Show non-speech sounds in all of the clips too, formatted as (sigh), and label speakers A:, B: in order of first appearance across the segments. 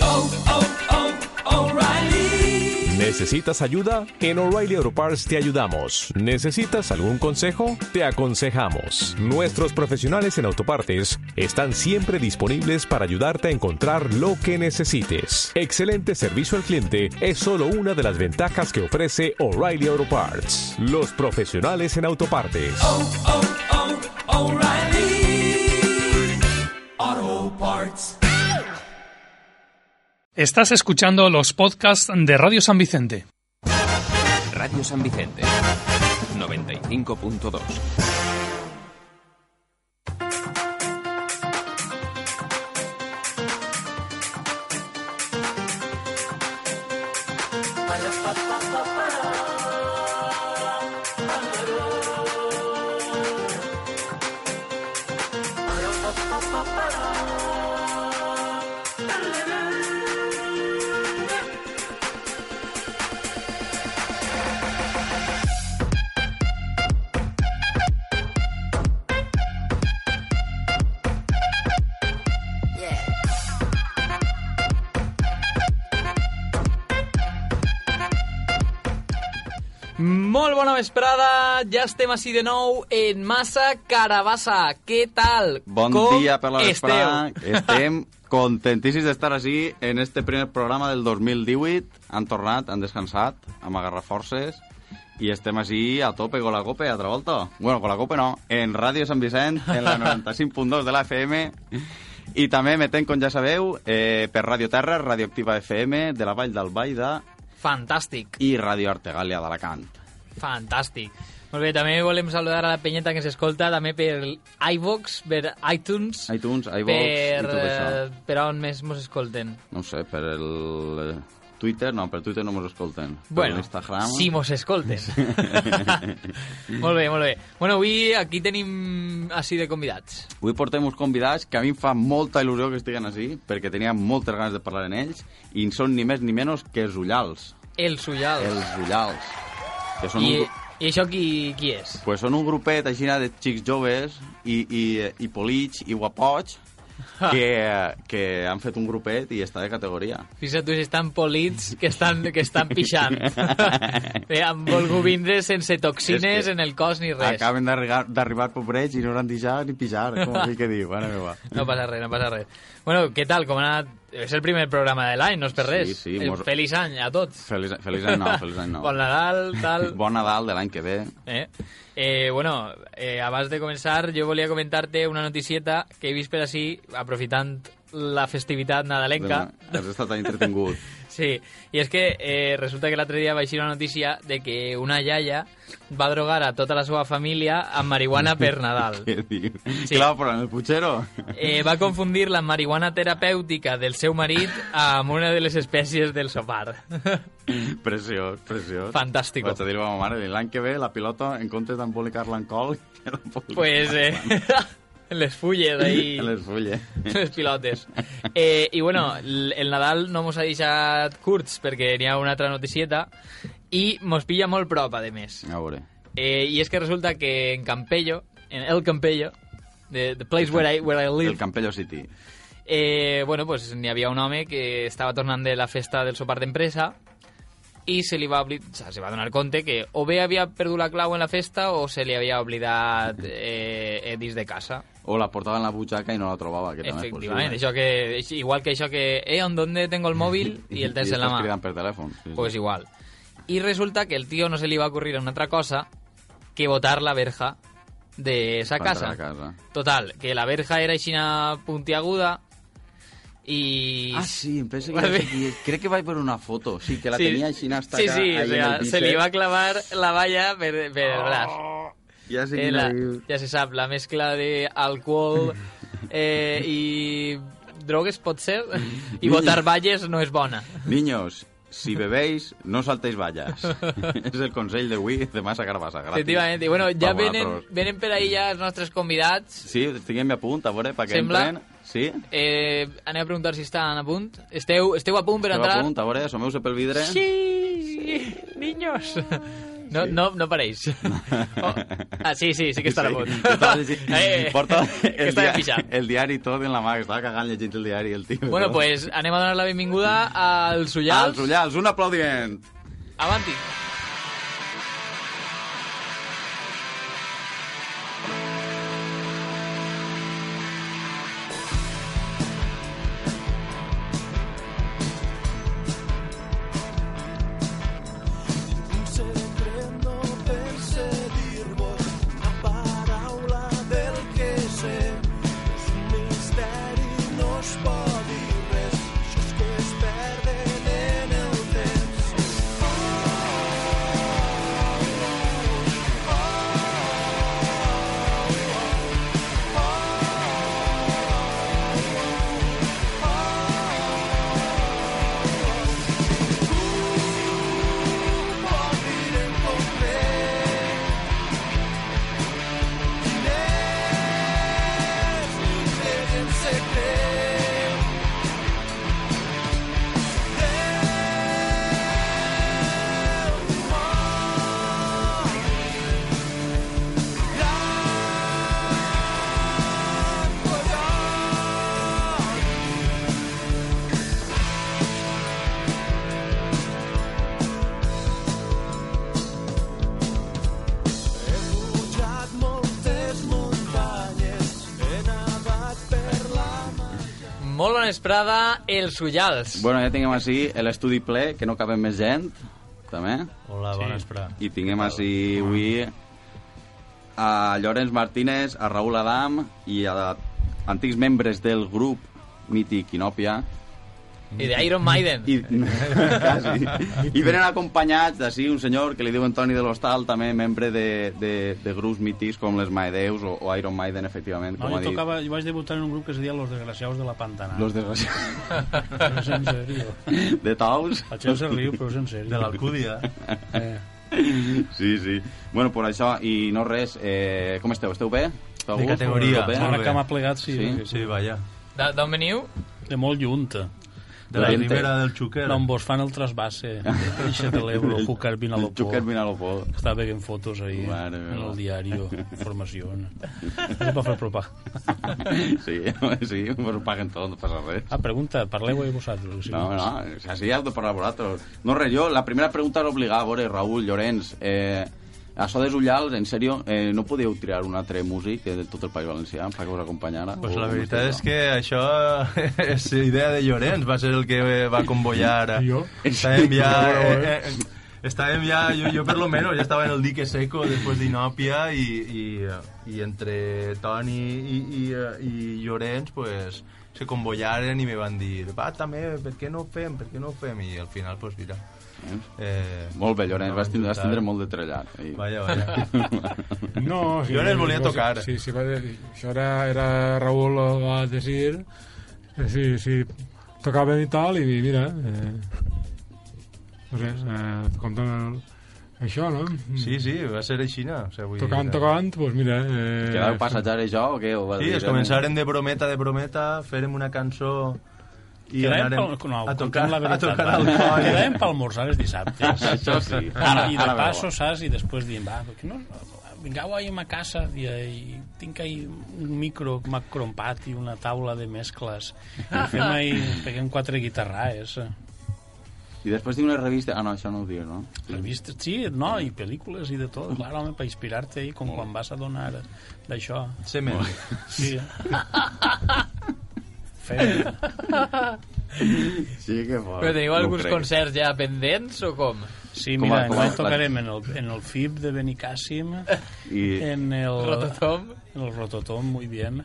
A: Oh, oh, oh, O'Reilly.
B: ¿Necesitas ayuda? En O'Reilly Auto Parts te ayudamos. ¿Necesitas algún consejo? Te aconsejamos. Nuestros profesionales en autopartes están siempre disponibles para ayudarte a encontrar lo que necesites. Excelente servicio al cliente es solo una de las ventajas que ofrece O'Reilly Auto Parts. Los profesionales en autopartes.
A: Oh, oh, O'Reilly. Auto Parts.
C: Estás escuchando los podcasts de Radio San Vicente.
D: Radio San Vicente 95.2
E: Molt bona vesprada, ja estem així de nou en Massa Carabassa. Què tal?
F: Bon
E: Com
F: dia per la vesprada.
E: Esteu? (laughs)
F: Estem contentíssims d'estar així en este primer programa del 2018. Han tornat, han descansat, hem agarrat forces i estem així a tope con la cope, a Travolta. Bueno, con la cope no, en Ràdio Sant Vicent,
E: (laughs)
F: en la 95.2 de la FM. I també m'etenc, com ja sabeu, eh, per Radio Terra, Radio Activa FM, de la Vall d'Albaida
E: Fantàstic,
F: i Radio Artegàlia d'Alacant.
E: fantàstic. Molt bé, també volem saludar a la penyeta que s'escolta, també per iVox, per iTunes,
F: iTunes, iVox i
E: per,
F: tot això.
E: eh, per on més mos escolten.
F: No ho sé, per el... eh, Twitter, no, per Twitter no mos escolten.
E: Bueno,
F: per Instagram...
E: si mos escolten.
F: (laughs)
E: molt bé, molt bé. Bueno, avui aquí tenim així de convidats.
F: Avui portem uns convidats que a mi em fa molta il·lusió que estiguen així, perquè tenia moltes ganes de parlar en ells, i són ni més ni menys que els ullals.
E: Els Ullals.
F: Els ullals. Que són,
E: I,
F: un, gru-
E: I això qui, qui és?
F: pues són un grupet així de xics joves i, i, i polits i guapots que, eh, que han fet un grupet i està de categoria.
E: Fixa't tu si estan polits que estan, que estan
F: (laughs)
E: pixant. Bé, han volgut vindre sense toxines
F: És que
E: en el cos ni res.
F: Acaben d'arribar d'arribar pobrets i no hauran deixat ni pijar,
E: (laughs)
F: com aquell que diu. Ara meva.
E: No passa res, no passa res. Bueno, què tal? Com ha anat? És el primer programa de l'any, no és per
F: Sí,
E: res.
F: sí,
E: El
F: mos-
E: Feliç any a tots.
F: Feliç, feliç any nou, feliç any nou.
E: Bon Nadal, tal...
F: (laughs) Bon Nadal de l'any que ve.
E: Eh? Eh, bueno, eh, abans de començar, jo volia comentar-te una noticieta que he vist per així, aprofitant la festivitat nadalenca.
F: Has estat tan entretingut.
E: (laughs) Sí, i és que eh, resulta que l'altre dia va eixir una notícia de que una iaia va drogar a tota la seva família amb marihuana per Nadal.
F: Què diu?
E: Sí.
F: (laughs) Sí. Clar, però en el putxero.
E: Eh, va confundir la marihuana terapèutica del seu marit amb una de les espècies del sopar.
F: (laughs)
E: (laughs)
F: Preciós, preciós.
E: Fantàstico.
F: Vaig a dir a ma mare, l'any que ve la pilota, en comptes d'embolicar-la en col, (laughs) que l'embolica
E: pues
F: (laughs)
E: eh, (laughs) les fulles ahí,
F: en (laughs) les fulles.
E: les pilotes. Eh, I bueno, l- el Nadal no mos ha deixat curts perquè n'hi ha una altra noticieta i mos pilla molt prop, a més.
F: A veure.
E: Eh, y es que resulta que en Campello, en El Campello, the, the place where I, where I
F: El
E: live,
F: Campello City.
E: eh, bueno, pues n'hi havia un home que estava tornant de la festa del sopar d'empresa i se li va obli- o sea, se va donar compte que o bé havia perdut la clau en la festa o se li havia oblidat
F: (laughs)
E: eh, eh, dins de casa.
F: O la portava en la butxaca i no la trobava, que també és
E: Efectivament,
F: possible.
E: això que, igual que això que, eh, on donde tengo el
F: (laughs)
E: mòbil i el tens en la
F: estàs
E: mà.
F: cridant per telèfon. Sí, sí.
E: Pues igual. Y resulta que el tío no se le iba a ocurrir una otra cosa que botar la verja de esa
F: Para
E: casa.
F: entrar a casa.
E: Total, que la verja era china puntiaguda y...
F: Ah, sí, em penso que...
E: Vale.
F: Vale. Crec que vaig veure una foto, sí, que la
E: Sí.
F: tenia així hasta
E: Sí,
F: acá,
E: sí,
F: ahí
E: o
F: en
E: sea,
F: el Oh.
E: se le iba a clavar la valla per, per el braç.
F: Ja sé
E: Eh,
F: quina
E: la-
F: dius.
E: ja se sap, la mezcla de
F: (laughs)
E: alcohol eh, i drogues pot
F: (laughs)
E: ser i botar valles no és bona.
F: Niños, si bebéis, no saltéis
E: (laughs)
F: vallas. es el consell de Wii de Massa Carbassa. Gratis.
E: Efectivament. I bueno, ja
F: Per
E: venen,
F: vosaltres.
E: venen per ahí ja els nostres convidats.
F: Sí, tinguem-hi a punt, a veure, perquè
E: Sembla-
F: entren... Sí?
E: Eh, anem a preguntar si estan a punt. Esteu, esteu a punt per
F: Esteu
E: entrar?
F: Eh? a punt, a veure, assomeu-se pel vidre.
E: Sí, niños. No, no, no
F: (laughs)
E: paréis. Oh, ah, sí, sí, sí que està la
F: Sí,
E: pot.
F: total, sí.
E: (laughs) Eh, eh,
F: Porta
E: que
F: el,
E: està ben
F: diari,
E: fixat.
F: el diari tot en la mà, que estava cagant llegint el diari, el tio.
E: Bueno, pues anem a donar la benvinguda als ullals.
F: Els ullals, un aplaudiment!
E: Avanti. Molt bona esprada, els ullals.
F: Bueno, ja tinguem així l'estudi ple, que no cabem més gent, també.
G: Hola, bona vesprada.
F: I tinguem així avui a Llorenç Martínez, a Raül Adam i a antics membres del grup mític Inòpia.
E: I de Iron Maiden.
F: I, (laughs) quasi. I venen acompanyats d'ací un senyor que li diu Antoni de l'Hostal, també membre de, de, de grups mítics com les Maedeus o, o Iron Maiden, efectivament,
G: No,
F: com ha
G: jo,
F: dit.
G: tocava, jo vaig debutar en un grup que es deia Los Desgraciados de la Pantana.
F: Los desgraciados (laughs)
G: Però és en sèrio.
F: de Taus.
G: El Xeu se riu, però és en sèrio.
H: De l'Alcúdia.
G: Eh,
F: Sí, sí. Bueno, per això, i no res, eh, com esteu? Esteu bé? Esteu a
H: De
F: gust?
H: categoria.
F: Esteu
G: ara
H: bé.
G: que m'ha plegat, sí.
F: Sí?
G: sí.
H: Sí, vaja.
E: De- D'on veniu?
G: De molt lluny.
H: De la
F: Gente.
H: Ribera del Xuquer.
G: D'on vos fan el trasbasse.
F: (laughs)
G: Ixa de l'Ebro, Júcar
F: El
G: Vinalopó.
F: Xúquer Vinalopó. (laughs)
G: Estava veient fotos ahir
F: Mare
G: en
F: meva.
G: el diari, informació. No va fer propar.
F: sí, sí, vos paguen tot, no passa res.
G: Ah, pregunta, parleu ahí vosaltres. Sí.
F: No, no, o sea, sí, heu de parlar vosaltres. No res, jo, la primera pregunta era obligada, a veure, Raül, Llorenç, eh, això dels ullals, en sèrio, eh, no podíeu triar un altre músic de tot el País Valencià per que us acompanyara?
H: Pues
F: O
H: la
F: com
H: veritat
F: esteu?
H: és que això (laughs) és idea de Llorenç, va ser el que va convoyar.
G: Jo?
H: Estàvem ja... Eh, eh, estàvem ja, jo, jo per lo menos ja estava en el dique seco després d'Inòpia i, i, i entre Toni i, i, eh, i Llorenç pues, se convoyaren i me van dir va, també, per què no ho fem, per què no ho fem? I al final, pues mira... Eh,
F: Molt bé, Llorenç,
H: no
F: vas
H: vam
F: tindre, vas tindre
H: intentar.
F: molt de trellat. I...
H: Vaja, vaja.
F: (laughs)
I: No, sí,
H: Jo les volia tocar.
I: Sí, sí, va dir, això era, era Raúl ho va decidir, eh, sí, sí, tocaven i tal, i mira, eh, no sé, eh, compten el, això, no?
H: Sí, sí, va ser així, no? O sigui, vull dir,
I: Tocant,
H: eh,
I: tocant, doncs pues mira... Eh,
F: Quedau passejar i jo o què? Ho va
H: Sí,
F: dir,
H: es començaren de brometa, de brometa, fèrem una cançó i
G: Quedàvem
H: anàrem
G: pel, no,
H: a tocar,
G: la
H: a
G: veritat,
H: tocar
G: va.
H: al coll.
G: Quedàvem per almorzar els dissabtes.
F: Això sí.
G: Ara, I de
F: Ara veu.
G: passo, saps? I després diem, va, perquè no, vingau ahir a ma casa i, i tinc ahir un micro macrompat i una taula de mescles. I fem ahir, peguem quatre guitarraes. eh,
F: I després tinc una revista... Ah, no, això no ho dius, no?
G: Revistes, sí, no, i pel·lícules i de tot. Clar, home, per inspirar-te ahir, com quan vas a donar d'això.
H: Semen.
G: Sí. Fem.
F: Sí, que fort.
E: Però teniu
F: No ho
E: alguns
F: crec.
E: concerts ja pendents o com?
G: Sí,
F: Com
G: mira,
F: a- com a-
G: enguany tocarem en el, en el FIB de Benicàssim,
F: I-
G: en el...
E: Rototom?
G: En el Rototom, muy bien.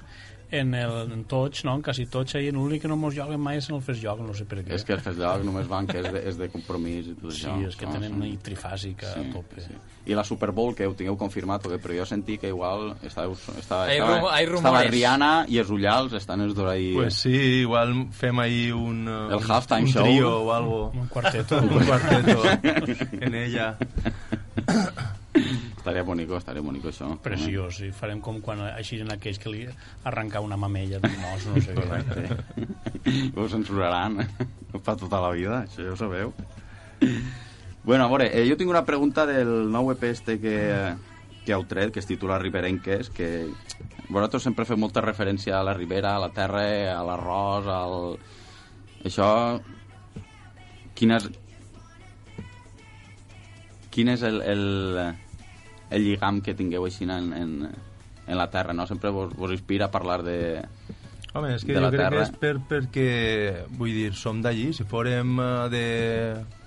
G: En el en Touch, no? En quasi Touch, i en l'únic que no mos joguen mai és en el Fes Joc, no sé per què.
F: És que els festllocs només van que és de, és de compromís i tot
G: Sí,
F: això.
G: és que
F: Ah,
G: tenen
F: sí.
G: una trifàsica a tope.
F: Sí. I la Super Bowl, que ho tingueu confirmat, perquè, però jo sentí que igual estava, estava,
E: Hay rumo-
F: estava,
E: hay
F: estava
E: rumores.
F: Rihanna i els ullals, estan els dos ahí...
H: Pues sí, igual fem ahí un... eh,
F: El halftime
H: un
F: show.
H: trío o algo.
G: Un
F: (laughs)
G: quarteto.
H: Un cuarteto en ella.
F: Estaria bonico, estaria bonico això.
G: Preciós, i farem com quan així en aquells que li arrencar una mamella d'un mos, no sé què.
F: (laughs) Ho censuraran per tota la vida, això ja ho sabeu. Bueno, a veure, eh, jo tinc una pregunta del nou EP este que, que heu tret, que es titula Riberenques, que vosaltres sempre feu molta referència a la ribera, a la terra, a l'arròs, al... Això... Quin és... Quin és el, el, el lligam que tingueu així en, en, en la terra, no? Sempre vos, vos inspira a parlar de...
H: Home, és que
F: de la
H: jo crec
F: terra.
H: que és per, perquè, vull dir, som d'allí, si fórem eh, de,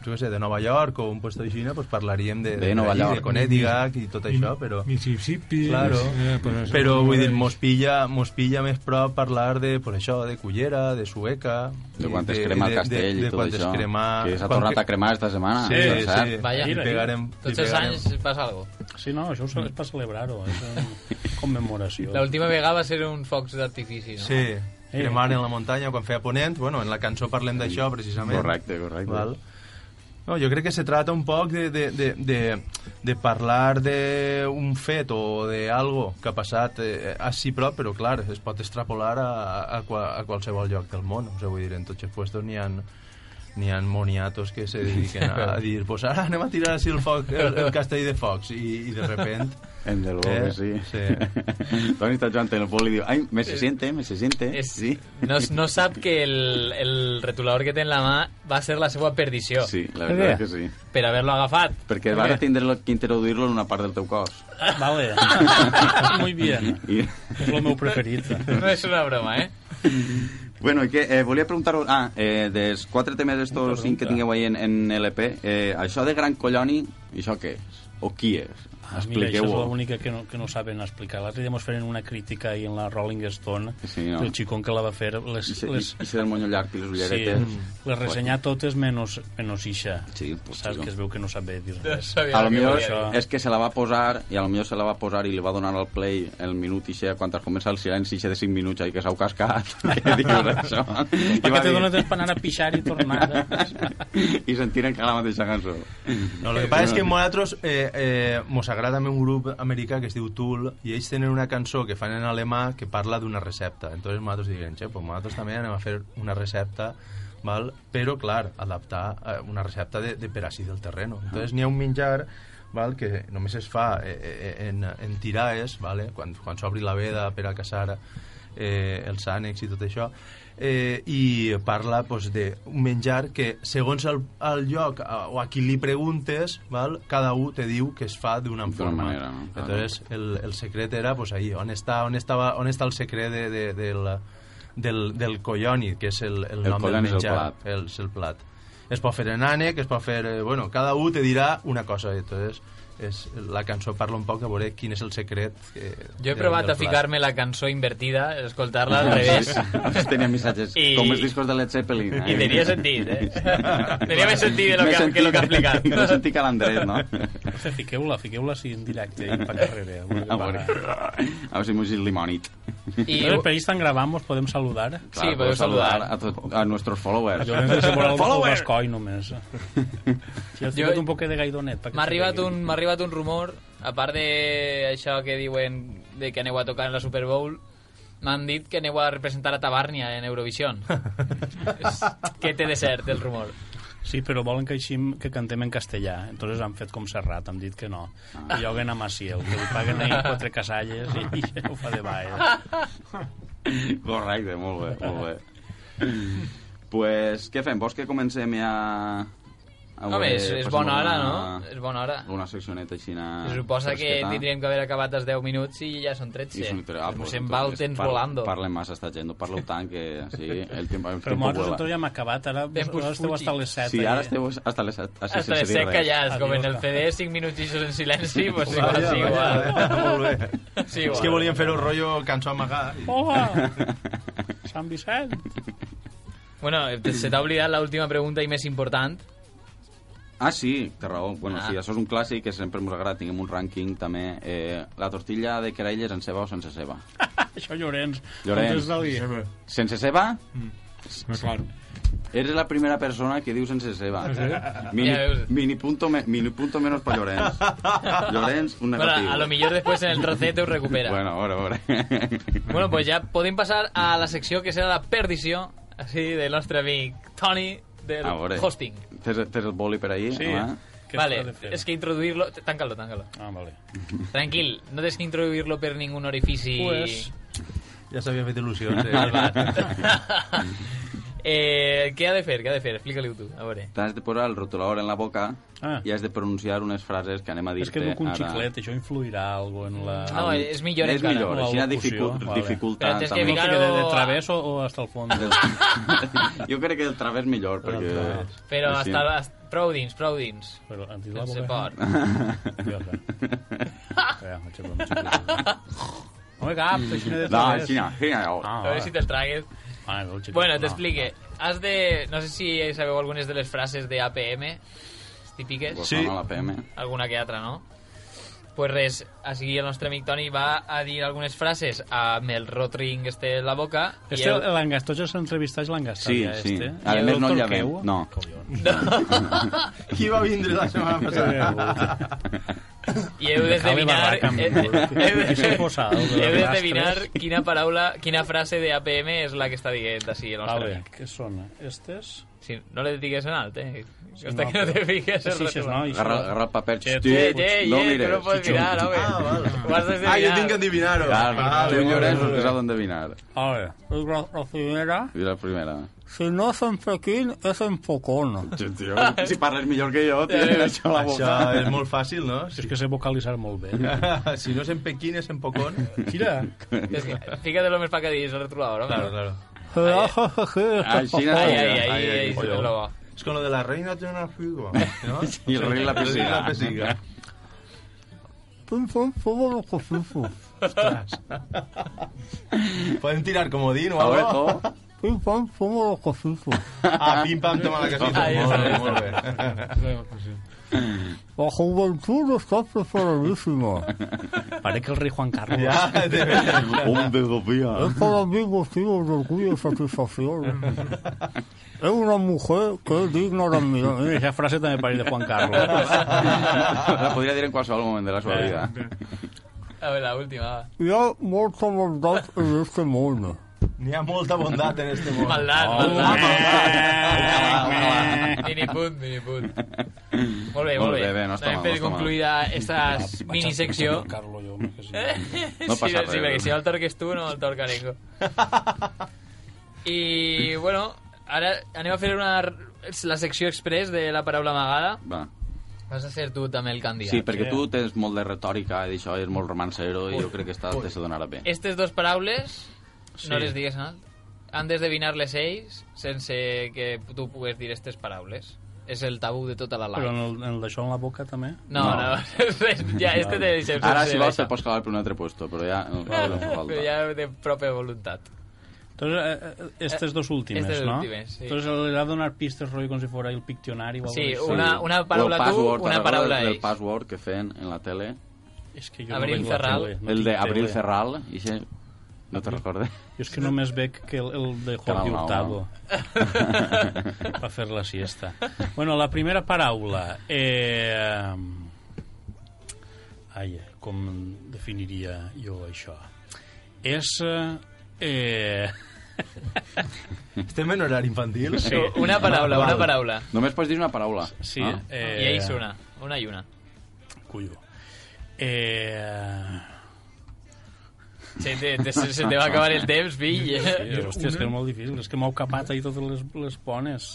H: jo què sé, de Nova York o un lloc de Xina, doncs parlaríem de,
F: De Nova
H: d'allí,
F: York.
H: de Connecticut i tot això, però...
I: Mississippi...
H: Claro,
I: eh, pues eso.
H: però vull dir, mos pilla, mos pilla més prop parlar de, pues això, de Cullera, de Sueca...
F: De
H: i
F: quan es
H: de-
F: crema
H: de-
F: el
H: de,
F: castell i
H: de
F: tot
H: quan
F: això.
H: Crema,
F: Que s'ha tornat a cremar esta setmana.
H: Sí,
F: per
H: sí,
F: cert.
H: sí.
E: Vaya.
H: Li pegarem, li
E: Tots els
H: pegarem.
E: anys passa algo.
G: Sí, no, això és per celebrar-ho, és una commemoració.
E: La última vegada va ser un focs d'artifici, no?
H: Sí, cremar en la muntanya quan feia ponent, bueno, en la cançó parlem d'això, precisament.
F: Correcte, correcte.
H: Val. No, jo crec que se trata un poc de, de, de, de, de parlar d'un fet o d'algo que ha passat eh, a si prop, però clar, es pot extrapolar a, a, qua- a qualsevol lloc del món. O sigui, vull dir, en tots els puestos n'hi ha n'hi ha moniatos que se dediquen a, a dir pues ara anem a tirar així el, foc, el, el castell de focs i, i de repent
F: En del bo,
H: Eh,
F: eh, sí.
H: sí.
F: (laughs) sí. Toni està jugant en el bol i diu, ai, me se siente, me se siente.
E: És,
F: Sí.
E: no, no sap que el, el retulador que té en la mà va ser la seva perdició
F: Sí, la veritat és que sí.
E: per haver-lo agafat.
F: Perquè vas a tindre que introduir-lo en una part del teu cos.
G: Vale, muy bien.
F: I...
G: És el meu preferit.
E: (laughs) No és una broma, eh?
F: (laughs) Bueno, i que, eh, volia preguntar-vos... Ah, eh, dels quatre temes estos cinc que tingueu ahí en, en LP, eh, això de Gran Colloni, això què és? O qui és?
G: Ah, mira, això és
F: Expliqueu-ho.
G: l'única que, no, que no saben explicar. L'altre dia mos feren una crítica ahir en la Rolling Stone
F: Sí, no.
G: del xicón que la va fer. Les,
F: I se- I
G: les,
F: i se del monyo llarg i les
G: sí, Mm.
F: ulleretes.
G: les ressenyar totes menys, menys ixa.
F: Sí, pues
G: Saps
F: sí, no.
G: que es veu que no sap bé dir
E: No
G: res.
E: sabia
F: A lo
E: el que
F: millor
E: volia dir.
G: això.
F: és que se la va posar i a lo millor se la va posar i li va donar al play el minut i xe, quan es comença el silenci ixe de 5 minuts ahí que s'ha cascat (laughs)
E: (laughs)
F: què dius això? I
G: Per
F: va
G: què te
F: dir-
G: dones temps per anar a pixar i tornar? (laughs) saps?
F: (laughs) i sentir encara la mateixa cançó
H: No, lo que pasa es que nosaltres eh, eh, mos agrada també un grup americà que es diu Tool i ells tenen una cançó que fan en alemà que parla d'una recepta. Entonces nosaltres diguem, che, pues nosaltres també anem a fer una recepta val? però clar, adaptar eh, una recepta de, de per així del terreno. Entonces n'hi ha un menjar val? que només es fa eh, eh, en, en tiraes, vale? quan, quan s'obri la veda per a caçar eh, els ànecs i tot això eh, i parla pues, d'un menjar que segons el, el lloc a, o a qui li preguntes val, cada un te diu que es fa d'una
F: D'una
H: forma
F: manera, no? Clar.
H: Entonces, el, el secret era pues, ahí, on està, on, estava, on està el secret de, de, del, del, del colloni que és el, el,
F: El
H: nom del
F: colloni és el
H: menjar
F: plat.
H: el, és el plat es pot fer en ànec, es pot fer... eh, Bueno, cada un te dirà una cosa. i Entonces, és, la cançó parla un poc a veure quin és el secret. Eh,
E: Jo he
H: del-
E: provat
H: del
E: a
H: plat.
E: ficar-me la cançó invertida, escoltar-la al revés.
F: Abans tenia missatges
E: I-
F: com els discos de Led Zeppelin
E: I tenia sentit,
F: (laughs)
E: eh? (laughs) Tenia més sentit de lo que, que, lo que ha (laughs) explicat.
F: no sentit que l'Andrés no?
G: Hòstia, eh, Fiqueu-la, fiqueu-la així en directe i per carrera.
F: a veure a veure si m'ho dic limonit
E: I, uh,
G: Nosaltres per ahí estan gravant, mos podem saludar.
E: sí, podeu saludar.
F: a, tot, a nuestros followers
G: Jo hem de separar el
H: Follower!
G: Bascoi
F: (laughs)
G: només. Si has
E: Jo-
G: ficat un poc de gaidonet. perquè
E: M'ha arribat,
G: sàpiga.
E: un, m'ha arribat un rumor, a part de això que diuen de que aneu a tocar en la Super Bowl, m'han dit que aneu a representar a Tabarnia en (laughs) Eurovision. És- que té de cert, el rumor.
G: Sí, però volen que aixim que cantem en castellà. Entonces han fet com Serrat, han dit que no. Ah. I lloguen a Maciel, que li paguen ahir quatre casalles i, i ho fa de
E: Ah.
G: baix.
F: Correcte, (laughs) molt bé, molt bé. pues, què fem? Vols que comencem ja... A
E: Home, és, és
F: passem
E: bona hora,
F: alguna-
E: no? És bona hora.
F: Alguna seccioneta així...
E: Se suposa que tindríem que haver acabat els 10 minuts i ja són 13.
F: ah,
E: Pues se'n va el temps volando.
F: Parlem massa esta gent, no parleu tant que... Sí, el temps, el temps
G: Però nosaltres
F: vola.
G: entonces ja hem acabat, ara,
E: Tempus
G: ara esteu
E: fugi.
G: hasta les 7.
F: Sí, ara esteu hasta les set,
E: Hasta
F: així
E: de
F: sense dir
E: ser
F: res.
E: callats, com en
G: Adiós,
E: el CD, 5 minuts i això en
F: (laughs)
E: silenci, pues
H: Vaja,
E: igual, sí, igual.
H: vaja,
E: (laughs)
H: Molt bé.
E: Sí,
H: És
E: igual.
H: que volíem fer un rotllo cançó amagada. i-
G: Hola! Oh!
F: (laughs)
G: Sant Vicent!
E: Bueno, se t'ha oblidat l'última pregunta i més important.
F: Ah, sí, té raó. Bueno,
E: Ah.
F: sí, això és un clàssic que sempre ens agrada. Tinguem un rànquing també. Eh, la tortilla de querelles en ceba o sense ceba?
G: Això Llorenç.
F: Llorenç.
G: Contesta-li.
I: Sempre.
F: Sense ceba?
G: Mm.
I: Ah, claro.
F: Eres la primera persona que diu sense ceba.
G: Ah,
F: Mini,
E: Ja veus.
F: mini, punto me, mini punto menos pa Llorenç. Llorenç, un
E: Bueno,
F: negatiu.
E: a lo millor després en el trocet ho recupera.
F: Bueno, a veure, a veure.
E: Bueno, pues ja podem passar a la secció que serà la perdició, així, del nostre amic Toni, del
F: A veure.
E: hosting.
F: Tens, tens el boli per ahir?
G: Sí.
F: home?
G: Què s'ha
E: vale,
G: de fer?
E: es que introduirlo... Táncalo, táncalo.
G: Ah, vale.
E: Tranquil, no tens que introduir-lo per ningún orifici...
G: Pues-
H: Ja s'havia fet il·lusió,
F: (laughs)
H: eh?
E: Eh, què ha de fer, què ha de fer? Explica-li-ho tu, a veure.
F: T'has de posar el rotulador en la boca
G: Ah.
F: i has de pronunciar unes frases que anem a
G: (laughs) És
F: dir-te
G: que duc un
F: ara.
G: xiclet, això influirà algo en la...
E: No, és millor
F: és
E: encara.
F: millor,
G: O
F: així
G: locució,
F: dificu
G: vale.
F: dificulta
E: Però tens que
F: també.
E: ficar-
G: Que de, de través o, o hasta el fons?
F: (laughs) jo crec que el través millor, perquè...
G: través.
E: Però
F: Sí.
E: hasta, hasta prou dins, prou dins.
G: Però antes de la
E: Sense
G: boca... (laughs)
E: por.
G: Ja, ja, m'he xiclet, m'he xiclet. No me cap, així de
F: No,
G: través.
F: així no, així no.
G: Ah,
E: A veure si te'l tragues.
G: Ah, el xiclet,
E: Bueno,
G: no.
E: t'explique. Has de... No sé si sabeu algunes de les frases de APM, les típiques.
F: Pues sí. la PM.
E: alguna que altra, no? Pues res, així el nostre amic Toni va a dir algunes frases amb el rotring este en la boca i
G: Este
E: el...
G: l'engastó ja s'entrevistà i l'engastó
F: Sí,
G: ja,
F: sí.
G: este.
F: A
G: I el
F: més, no el
G: doctor
F: llevem.
G: Keu?
F: No.
G: Collons.
H: Qui va vindre la setmana passada?
E: i heu d'esdevinar
G: barraca,
E: eh,
G: molt.
E: eh, heu
G: I s'ha posat, el de
E: heu
G: les
E: d'esdevinar
G: rastres.
E: quina paraula, quina frase de APM és la que està dient així el nostre
G: Vale,
E: amic.
G: què sona? Estes?
E: Si no le digues en alt, eh?
G: Sí,
E: Hasta
G: no,
E: que no te
G: però-
E: fiques
G: Sí,
E: el
G: sí, sí,
E: rotring.
G: no, i
F: Agarra,
G: sona-
F: agarra el paper.
G: Sí,
F: Hosti,
E: Eh, eh,
F: no
E: eh,
F: mires.
E: que no pots
F: Hosti,
E: mirar, home.
H: Ah, vale.
E: Ho has d'esdevinar.
H: Ah, jo tinc que endevinar-ho.
F: Clar,
H: Vale,
F: tu,
H: vale,
F: Llorenç,
H: vale.
F: ho has d'endevinar.
G: Vale, la, la primera,
F: I la primera.
H: (laughs)
G: si no és en Pequín, és en Pocona.
F: Tio, tio, si parles millor que jo, tio, això a la boca.
H: Això és molt fàcil, no?
G: És
H: Si, (laughs)
G: que sé vocalitzar molt bé.
H: si no és en Pequín, és en Pocón.
G: Mira,
E: És que, Fíjate lo més pa que diguis el retrolador, home.
H: Claro, claro.
F: Així no
E: Ai,
F: és.
E: ai, ai, ai, ai,
H: pollo.
E: se lo va.
H: És con lo de la reina tiene una figa, ¿no?
F: Y el rey la pesiga.
H: El rey la pesiga.
G: Pum, pum, pum, lo que fufo.
H: Podem tirar comodín o
F: A veure,
E: oh.
H: algo.
F: tu.
G: Pum, pum, pum, lo que fufo.
H: Ah, pim pam, toma la casita.
E: Ahí
H: molt bé,
E: està.
H: molt bé.
G: La juventud està (laughs) preparadíssima. Pare que el rei Juan Carlos.
H: Ja, de veritat.
F: Un desafío.
G: Es para mí motivo de orgullo y satisfacción. Es una mujer que es digna de admirar. Mira, esa frase també pareix de Juan Carlos.
F: (laughs) La podria dir en qualsevol moment de la
E: Eh,
F: seva vida.
E: A ver, la última, va.
G: (laughs) Hi ha molta maldat en este món.
H: N'hi ha molta bondat en este món.
E: Maldad, maldad. Oh, Mini punt, mini punt. Molt bé, molt
F: Molt bé,
E: bé.
F: bé, no està
E: Anem
F: mal,
E: per
F: no està mal.
E: concluïda (laughs) esta minisecció.
G: Carlos, jo, que
E: (laughs)
G: sí.
F: No
E: Sí,
F: passa
E: sí,
F: res.
E: perquè si no el torques tu, no el torca ningú. I, bueno, ara anem a fer una, la secció express de la paraula amagada.
F: Va.
E: Vas a ser tu també el candidat.
F: Sí, perquè tu tens molt de retòrica i d'això, és molt romancero i jo crec que està, te se donarà bé.
E: Estes dos paraules, no
G: Sí.
E: les digues en alt. Han d'esdevinar-les ells sense que tu pugues dir aquestes paraules. És el tabú de tota la
G: Però
E: live.
G: en, el, en això en la boca també?
E: No, no, (laughs) ja, este te deixem
F: Ara,
E: sense
F: si vols,
E: beca.
F: te pots calar per un altre puesto, però ja no, no,
E: (laughs)
F: no fa
E: Però
F: falta.
E: ja de pròpia voluntat.
G: Entonces, eh, eh, estes dos últimes,
E: estes
G: no?
E: últimes, sí.
G: Entonces, le va a donar pistes, rollo, com si fora el piccionari o algo
E: Sí,
G: així.
E: una, una paraula
F: O el
E: tu,
F: password,
E: una
F: te'n
E: paraula
F: recordes del
E: ells.
F: password que feien en la tele?
G: És que jo
E: Abril
G: no veig la
E: Ferral.
G: tele, no
F: El
G: tinc
F: de Abril
G: tele.
F: Ferral, i xe... No
E: Mm.
F: te recordes? (laughs)
G: Jo és que només veig que el, el de
F: Canal
G: Jordi
F: nou,
G: Hurtado
F: (laughs)
G: va fer la siesta. Bueno, la primera paraula... Eh... Ai, com definiria jo això? És... Eh...
H: Estem en horari infantil?
G: Sí.
E: Una paraula, una paraula.
F: Només pots dir una paraula.
G: Sí,
F: Ah.
G: eh...
E: I ells una, una i una.
G: Cullo. Eh...
E: Se te, te, se, se te va acabar el temps, fill.
G: Eh, hòstia, és que és molt difícil. És que m'heu capat ahir totes les, les pones.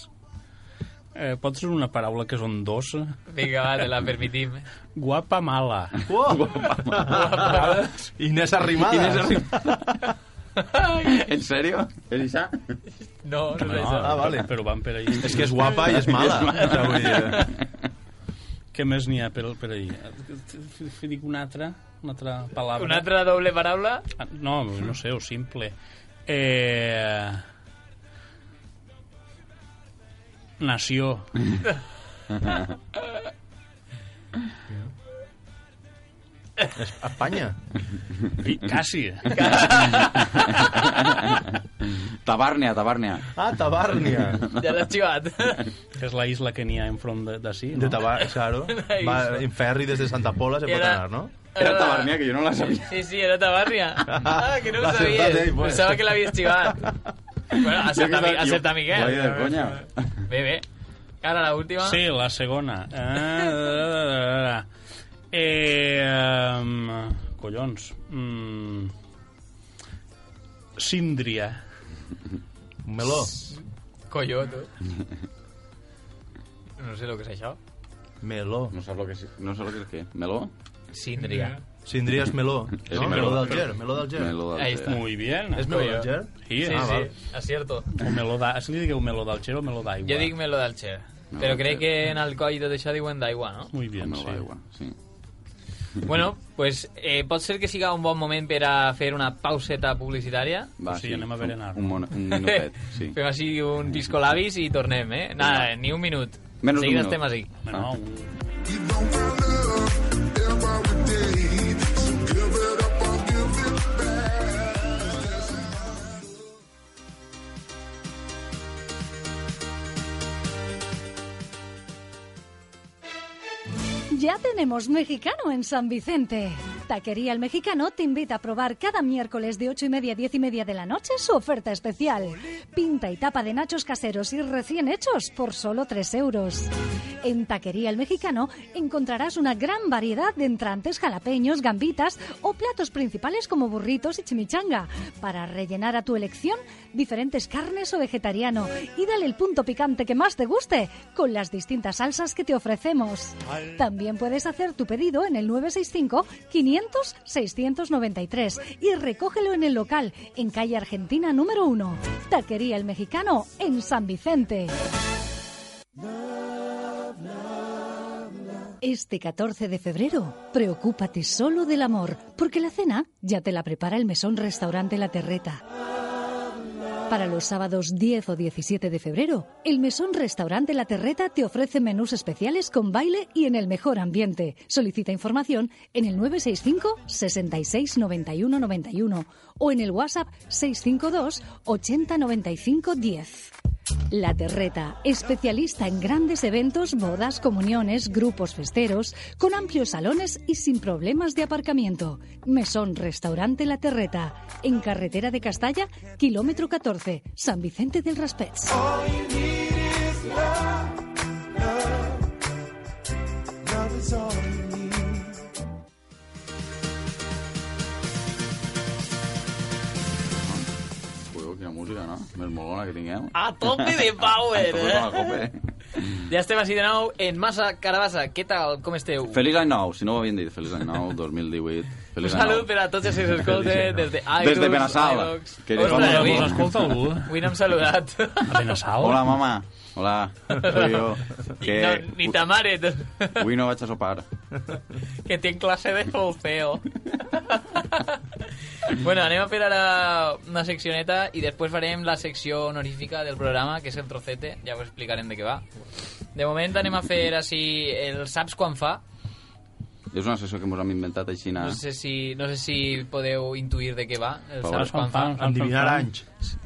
G: Eh, pot ser una paraula que és ondosa?
E: Vinga, va, te la permitim.
G: Guapa mala.
H: Inés Arrimadas. Inés Arrimadas.
E: eh.
F: En sèrio? És això?
E: No, no, no.
G: Ah,
H: vale.
G: Però van per ahir.
H: És que és guapa i és mala. eh. Ja vull dir.
G: Què més n'hi ha per, per ahir? F- Dic una altra, una altra paraula.
E: Una altra doble paraula?
G: Ah, No, no sé, o simple. Eh... Nació.
H: Espanya.
G: I, quasi.
F: Tabàrnia, Tabàrnia.
H: Ah, Tabàrnia.
E: Ja l'has xivat.
G: Que és la isla que n'hi ha enfront de- d'ací,
H: De
G: no?
H: Tabàrnia,
E: (laughs)
H: claro. Va, en ferri des de Santa Pola se pot
E: Era-
H: anar, no?
E: Eh.
F: Era Tabàrnia, que jo no la sabia.
E: Sí, sí, era Tabarnia. Ah, que no ho
H: La ciutat
E: sabies.
H: d'ell, pues.
E: Pensava que l'havies xivat. Bueno,
F: Jo que
E: acepta, Eh,
F: estava-
E: Mi-
F: jo-
E: acepta
F: Guai, de
E: Miquel.
F: conya.
E: Bé, bé. Ara la última.
G: Sí, la segona. Ah, Eh, em, eh, collons. Mm. Síndria.
H: Un meló.
E: Collot. No sé lo que és això.
H: Meló.
F: No saps lo que, és- no saps lo que és què? Meló?
E: Síndria.
H: Sindries meló.
F: És
H: No?
F: meló.
H: Meló d'Alger, meló d'Alger.
F: Meló del
E: Ahí
F: Ter.
E: está.
G: Muy bien.
H: És meló d'Alger?
G: Sí,
E: Sí,
G: ah, val.
E: sí, acierto.
G: O meló de... Si li digueu meló d'Alger o meló d'aigua.
E: Jo dic Melo del Che. Però crec que en Alcoi i tot això diuen d'aigua,
G: (laughs)
E: no?
G: Muy bien,
F: Meló
G: sí.
F: d'aigua, sí.
E: Bueno, pues, eh, pot ser que siga un bon moment per a fer una pauseta publicitària.
F: Va,
G: Sí, anem a berenar.
F: Un, mon- un minutet, sí.
E: (laughs) Fem així un pisco labis i tornem, eh? Nada, ni un minut.
F: Menos
E: Seguida
F: d'un minut. Ah.
E: estem així.
G: Bueno, un...
J: Ya tenemos mexicano en San Vicente. Taquería El Mexicano te invita a probar cada miércoles de 8 y media a 10 y media de la noche su oferta especial. Pinta y tapa de nachos caseros y recién hechos por solo 3 euros. En Taquería El Mexicano encontrarás una gran variedad de entrantes jalapeños, gambitas o platos principales como burritos y chimichanga para rellenar a tu elección diferentes carnes o vegetariano y dale el punto picante que más te guste con las distintas salsas que te ofrecemos. También puedes hacer tu pedido en el 965 500 693 y recógelo en el local en calle Argentina número 1, Taquería El Mexicano en San Vicente. Este 14 de febrero, preocúpate solo del amor, porque la cena ya te la prepara el mesón restaurante La Terreta. Para los sábados 10 o 17 de febrero, el Mesón Restaurante La Terreta te ofrece menús especiales con baile y en el mejor ambiente. Solicita información en el 965 66 91 91 o en el WhatsApp 652 80 95 10. La Terreta, especialista en grandes eventos, bodas, comuniones, grupos festeros, con amplios salones y sin problemas de aparcamiento. Mesón Restaurante La Terreta, en carretera de Castalla, kilómetro 14, San Vicente del Raspets.
F: Ui, quina música, no? Més molona que tingueu.
E: A tope de Ah, power,
F: Toca la
E: eh?
F: copa,
E: (laughs)
F: eh?
E: Ja estem així de nou en Massa Carabassa. Què tal? Com esteu?
F: Feliç any nou, si no ho havien dit. Feliç any nou, 2018.
E: Un
F: Feliç any nou.
E: salut per a tots els que ens escolten des de iTunes,
F: Des de Benassal.
E: iVox.
F: Que
E: Ostres,
F: diuen-
E: avui,
G: Us escolta algú?
E: avui no hem
F: (laughs)
E: saludat.
G: A Benassal?
F: Hola, mama. Hola, soy
E: (laughs)
F: yo. Que...
E: No, ni ta mare.
F: Avui no vaig a sopar.
E: que tinc classe de
F: (laughs)
E: solfeo. bueno, anem a fer ara una seccioneta i després farem la secció honorífica del programa, que és el trocete, ja us explicarem de què va. De moment anem a fer així el saps quan fa,
F: És una sessió que ens hem inventat així.
E: no
F: Na...
E: sé si, no sé si podeu intuir de què va, el
F: Pobre.
E: saps quan fa.
H: Endivinar anys.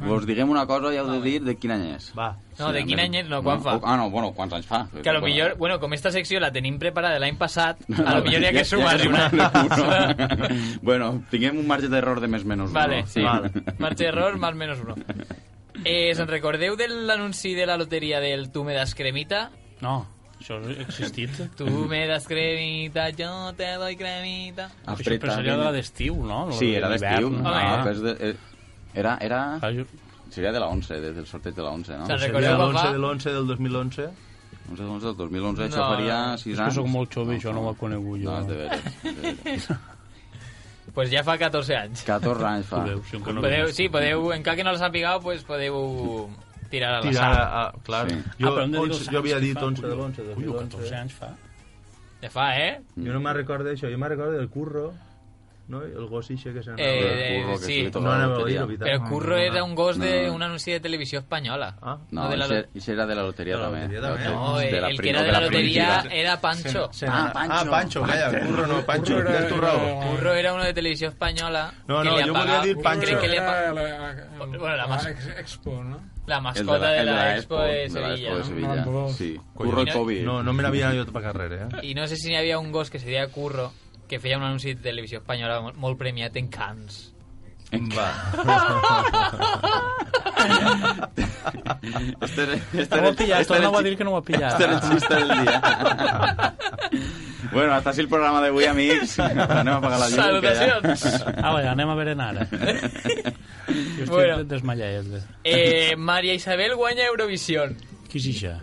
F: Vos diguem una cosa i heu de dir de quin any és.
H: Va.
E: No, de quin
F: a
E: any
F: més-
E: és, no, quan fa.
F: Ah, no, bueno, quants anys fa.
E: Que a lo
F: Bueno,
E: millor, bueno, com esta secció la tenim preparada l'any passat, a lo millor hi ha
F: (laughs)
E: que sumar
F: sumar-ne
E: una.
F: un. (laughs) bueno, tinguem un marge d'error de més menys.
E: Vale,
F: no?
E: sí.
F: (laughs)
E: Vale. (laughs) Marxa d'error, mal menos uno. Eh, se'n recordeu de l'anunci de la loteria del Tu me das cremita?
G: No, això ha existit.
E: Tu me das cremita, jo te doy cremita.
G: Això però seria de la d'estiu, no?
F: Sí, era d'estiu.
G: d'hivern,
F: No,
E: Ah,
F: però és de... eh, Era, era...
G: Ah, jo-
F: Seria de la 11, des del sorteig de la 11, no?
E: Se'n
H: Seria
E: recordeu,
H: l'11 de
E: papà?
H: l'11 del 2011.
F: 11 de 11 del 2011, això
E: No, eh,
F: faria
E: no, no.
F: 6
G: És que
F: anys.
G: sóc molt jove, això no ho he conegut jo.
F: No, és de veres. és de veres.
E: Pues ja fa 14 anys.
F: 14 anys fa.
G: Tu veus, jo encara no
E: Podeu, sí, podeu, encara que no les ha pigat, pues podeu tirar a la
H: Tirar
E: sala.
H: a... a clar.
F: Sí.
H: Jo,
G: Ah, però hem de dir els
H: 11, jo
G: anys
H: havia
G: que
H: dit
G: fa.
H: 11 de l'11 del
G: Ui, 14
H: 2011.
G: anys fa.
E: Ja fa, eh?
H: Jo no me'n recordo d'això, jo me'n recordo del curro, no? el gos ixe que s'anava.
E: Eh,
H: Eh,
E: eh,
F: Curro, que
E: sí.
F: se li toca
H: no
F: la
H: anava a
F: loteria.
H: dir, veritat.
E: Però Curro era un gos
F: No,
E: de
F: no.
E: un anunci de televisió espanyola.
H: Ah.
F: No,
E: No, de la
F: això- això era de la loteria
H: De la
F: també.
H: loteria també.
E: No, eh, el que
F: prim-
E: era de
F: de
E: la
F: la
E: loteria
F: primitiva.
E: era Pancho.
H: Ah, Pancho. Ah, Pancho, calla, Curro no, Pancho,
I: Curro era-
H: tens tu raó.
E: Curro era uno de televisió espanyola.
H: No,
E: que
H: no,
E: li
H: jo volia
E: apagava-
H: dir Pancho.
E: Crec que li apa-
I: Era la, la,
E: Bueno, la mas-
I: ex- Expo, no?
E: La
F: El de
E: mascota de
F: el
E: la, Expo de
F: la
E: Sevilla.
F: Expo de
E: ¿no?
G: Ah,
F: Sevilla.
I: Mandó.
F: Sí, Curro i
E: Collons.
F: Covid.
H: No, no me n'havia anat jo per carrera, eh?
E: I no sé si n'hi havia un gos que se deia Curro que feia un anunci de televisió espanyola molt, molt premiat en Cannes.
F: Este, era- este
G: Este
F: era
G: no ho
F: el-
G: ha
F: este era
G: pillat,
F: el
G: torna a
F: chi-
G: dir que no ho ha pillat.
F: Este era el xiste del
H: (laughs)
F: dia. bueno, hasta així el programa d'avui,
E: (laughs)
F: amics. Anem a apagar la llum. (laughs)
E: Salutacions.
G: Ah, bé, anem a berenar ara. Jo estic
E: Bueno.
G: bueno. desmallat.
E: Eh, María Isabel guaña Eurovisión.
G: Qui és això?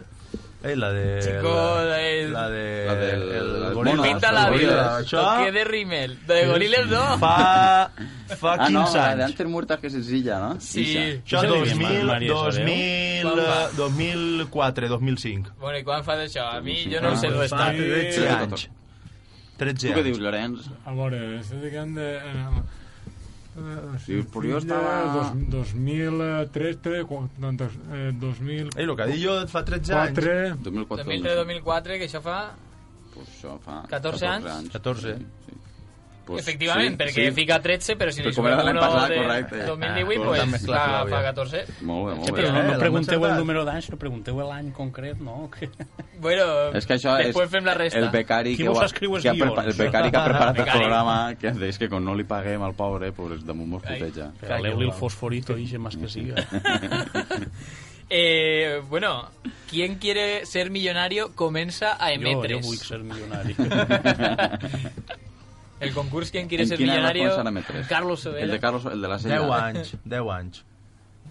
H: Ei, la de...
E: Chico,
H: la,
E: el-
H: la de...
F: La del- el
H: goril·la,
F: mono,
E: Pinta
F: Los
H: el goril·la.
E: labios.
H: Això
E: Toque de rímel. De goriles no.
H: fa... fa 15
F: Ah, no, la
H: anys.
F: d'Antes Murtas, que és senzilla, no?
E: Sí.
H: Això
G: Això li diuen
H: 2000,
G: Maria Isabel.
H: 2000,
E: Quan va?
H: 2004, 2005.
E: Bueno, ¿y cuán fa d'això? A mí yo no lo sé
H: Ah,
E: restar.
H: fa 13
F: Sí.
H: anys. 13
F: Tu
H: anys.
F: què dius, Llorenç?
I: A veure, estem dient de... Eh,
F: Dius, però jo
I: Dos,
F: estava-
I: 2003, 3, 4, eh, 2004,
H: Ei, el que dic jo fa 13 anys.
F: 2004.
E: 2003-2004, que això fa...
F: Pues això fa
E: 14 anys.
H: 14.
F: Sí. Pues,
E: Efectivament,
F: sí,
E: perquè
F: sí.
E: fica 13, però si
F: Però
E: li
F: com era
E: sumem
F: l'any
E: uno
F: passat,
E: de
F: correcte.
E: 2018,
H: Ah,
E: pues,
H: doncs també, clar,
E: fa,
H: clar,
E: fa
H: ja.
E: 14.
F: Molt bé, molt bé.
G: Però no,
H: eh,
G: no
H: l'hem
G: pregunteu el
H: encertat.
G: número d'anys, però pregunteu l'any concret, no? (laughs) Que...
E: Bueno,
F: És que això
E: després
F: és
E: fem la resta.
F: el becari
G: Qui
F: que,
G: vos
F: ho ha-
G: escriu els
F: que ha prepa- el
G: guions?
F: becari
G: (laughs)
F: que ha preparat el
E: Becari.
F: programa que deix que com no li paguem al pobre pues damunt mos
E: Ai.
F: puteja
G: Caleu-li el fosforito, ixe, més que (laughs) siga.
E: Eh, bueno, ¿quién quiere ser millonario comienza a
G: Jo,
E: M3?
G: jo vull ser milionari.
E: El concurso ¿Quién quiere
F: En
E: ser
F: quin any va
E: millonario?
F: començar a M3?
E: Carlos
F: El de
E: Sobera.
F: Carlos, el de la sella.
H: 10 anys, 10 anys.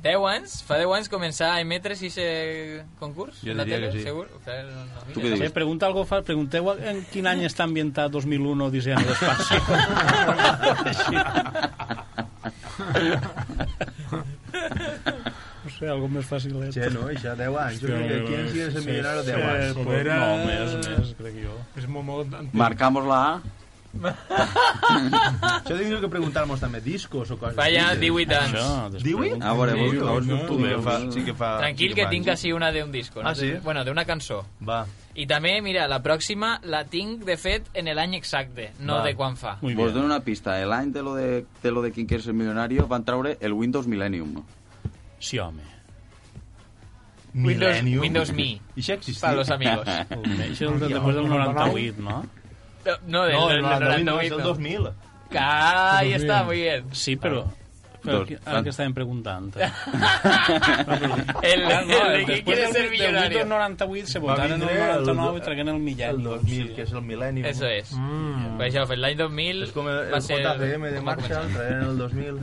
E: 10 anys? Fa 10 anys començà a emetre's i ese concurs?
H: Jo
E: en la
H: diria
E: tele,
H: que sí.
E: Segur? Clar, no- no
F: Tu
E: mira.
F: què
G: Sí,
F: dius?
G: pregunta algo, fa- pregunteu en quin any està ambientat 2001 Odissea en (laughs) l'espaci. no sé, algo més fàcil. Eh?
H: Che, no, això 10 anys. Jo crec que aquí ens hi és el milionari
I: Sí,
H: 10 anys.
I: sí.
G: pues, no, més, més, crec jo.
I: és molt, molt antic.
F: Marcamos la A.
H: Això tindríem que preguntar-nos també discos o coses.
E: Vaya, 18 anys.
G: Això,
H: Divuit?
F: A veure,
H: Sí,
F: Ah, vos- a veure,
H: no,
F: tu
H: sí que
F: veus.
H: fa- sí que fa-
E: Tranquil
H: sí
E: que
H: fa
E: tinc
H: anys.
E: casi una de un disco.
H: Ah, sí?
E: Bueno, de una cançó.
H: Va.
E: I també, mira, la pròxima la tinc, de fet, en l'any exacte, no
H: Va.
E: de quan fa.
G: Muy
F: Vos
G: bien.
F: dono una pista. El any de lo de, de, lo de quien quiere ser millonario van traure el Windows Millennium.
G: Sí, home.
E: Windows-
H: Millennium.
E: Windows Me.
H: I això existia?
E: Para los
F: (laughs)
E: amigos. Pues,
G: Això és el de, després del 98, no?
E: No, del
H: No, el
E: del
H: 99 és
E: 98.
H: el
E: no.
H: 2000.
E: Ah, Ahí está, muy bien.
G: Sí, però... però
F: Dos.
G: aquí- ara que estàvem
E: (laughs)
G: preguntant.
E: El,
G: Ah,
E: el,
G: no,
E: de qui quiere ser
G: Del 8
E: millonario.
G: 98 se
H: Va
G: votaren el
H: vindre el-
G: 99 i traguen el
H: El
G: Millani.
H: 2000, que és el Millennium.
E: Eso es. Pues això, pues l'any 2000
H: Mm. És com el,
E: va
H: el
E: ser...
H: JPM de Marshall, traient el 2000.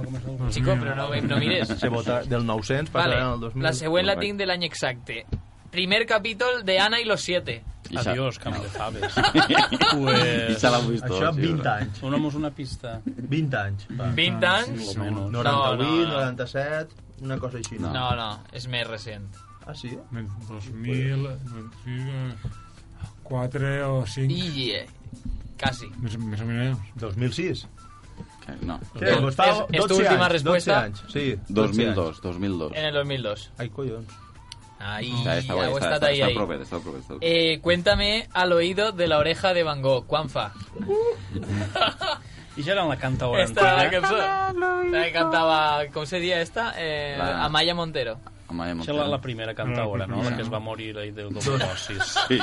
E: Chico, però no, no mires.
H: Se vota del 900,
E: Vale,
H: passaran al 2000.
E: la següent la
F: Correcte.
E: tinc de l'any exacte. Primer capítol de Ana y los siete.
F: I s'ha-
G: Adiós, camp de
E: (laughs)
G: faves.
F: I
G: pues,
F: se l'han vist
H: Això
F: tots,
H: 20
F: sí,
H: anys.
G: dona'm una pista.
H: 20 anys. Va.
E: 20 anys?
H: 98,
G: Menys.
E: No, no.
H: 97, una cosa així.
F: No.
E: No, no, és més recent.
H: Ah, sí?
I: 2000, 4 o 5. I...
E: I... eh, Quasi.
I: Més, més o menys.
H: 2006.
F: Que No.
H: Què? Vos fa
E: és- és tu
H: 12
E: última
H: anys,
E: resposta?
H: 12 anys, sí. 12 anys.
F: 2002, 2002.
E: En el 2002.
H: Ai, collons.
E: Ahí,
F: Està, està, guai,
E: hago
F: està,
E: estat
F: està,
E: pues, ahí,
F: està
E: ahí.
F: proper, està proper, està proper.
E: Eh, cuéntame al oído de la oreja de Van Gogh. ¿Cuán fa?
G: I ja era en la canta ¿eh? hora
E: Esta la
G: antiga.
E: cançó. La que cantava... Com se dia esta? Eh,
F: La-
E: Amaya Montero.
F: Amaya
G: Això era
F: Montero.
G: la primera canta hora, no? La que es va morir ahí del domosis.
E: (laughs)
F: Sí.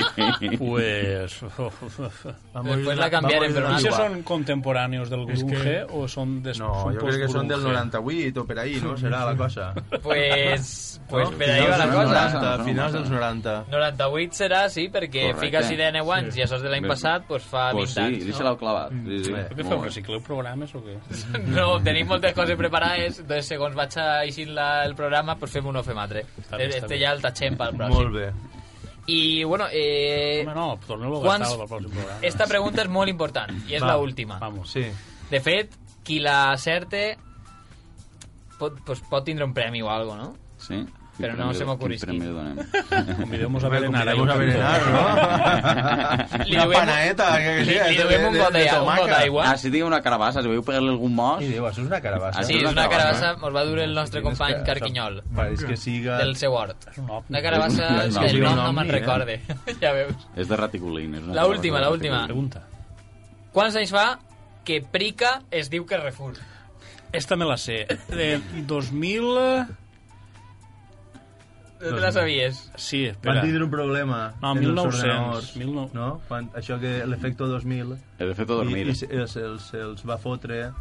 G: Pues...
H: Va
E: Després
H: morir
E: la
H: va
E: canviaren,
H: morir
E: però
H: de
E: no
G: Això
H: igual.
G: són contemporanis del
I: És que-
G: Grunge o són des...
H: No, jo crec que són del 98 o per ahí, no? Serà la cosa.
E: Pues... Pues
H: No?
E: per ahí va la
H: Finals dels
E: cosa.
H: 90, Finals dels 90.
E: 98 serà, sí, perquè
F: Correcte.
E: fica-s'hi de 10 anys i això és de l'any
F: Bé.
E: passat, doncs fa 20
F: Pues sí, li
E: anys.
F: se l'heu clavat.
E: Mm,
F: Sí, sí.
H: eh?
G: Què
F: Molt
G: feu,
F: bé.
G: recicleu programes o què?
E: No? (laughs) no, tenim moltes coses preparades, doncs segons vaig aixint la, el programa, doncs fem un o fem altre.
G: bé, està
E: Este
G: bé.
E: ja el tatxem pel
H: Molt
E: pròxim.
H: bé.
E: I, bueno, eh,
G: Home, no, torneu-lo a
E: Quants-
G: gastar pel pròxim programa.
E: esta pregunta és molt important i és
H: Va,
E: l'última.
G: Vamos.
H: Sí.
E: De fet, qui la acerte pot, pues, pot tindre un premi o alguna no?
F: Sí.
E: Però no se m'ocorrisqui.
F: Quin premi donem?
E: (laughs)
G: Convideu-nos a
H: Home,
G: berenar. eh?
H: convideu-vos a berenar, no?
E: Li
H: Una
E: duem-
H: panaeta, que que sí,
E: li- li
H: de-
E: duem un
H: de-
E: got
H: de
E: de- un
H: tomaca.
E: got d'aigua.
F: Ah, si tinc una carabassa, si veieu pegar-li algun mos...
H: I diu, això és una carabassa.
F: Ah,
E: Sí,
F: és
E: és
F: una
E: una
F: carabassa.
E: carabassa, mos va dur el nostre company
H: És que-
E: Carquinyol,
H: Pareix que siga...
E: del seu hort. Una carabassa,
F: És un-
E: el nom
H: és
E: no
H: un
E: me'n
H: ovni, eh?
E: recorde. (laughs) Ja veus.
F: És de reticulín. És una
E: La
F: carabassa
E: última,
F: de
E: la última.
F: reticulín.
G: Pregunta.
E: Quants anys fa que Prica es diu que refús?
G: Esta me la sé. De 2000...
E: No te la sabies.
G: Sí, espera.
H: Van tindre un problema.
G: No,
H: en els
G: 1900,
H: ordenadors,
G: 1900.
H: No? Quan, això que l'efecte 2000...
F: He de fer tot dormir.
H: I, i se- els, els, els va fotre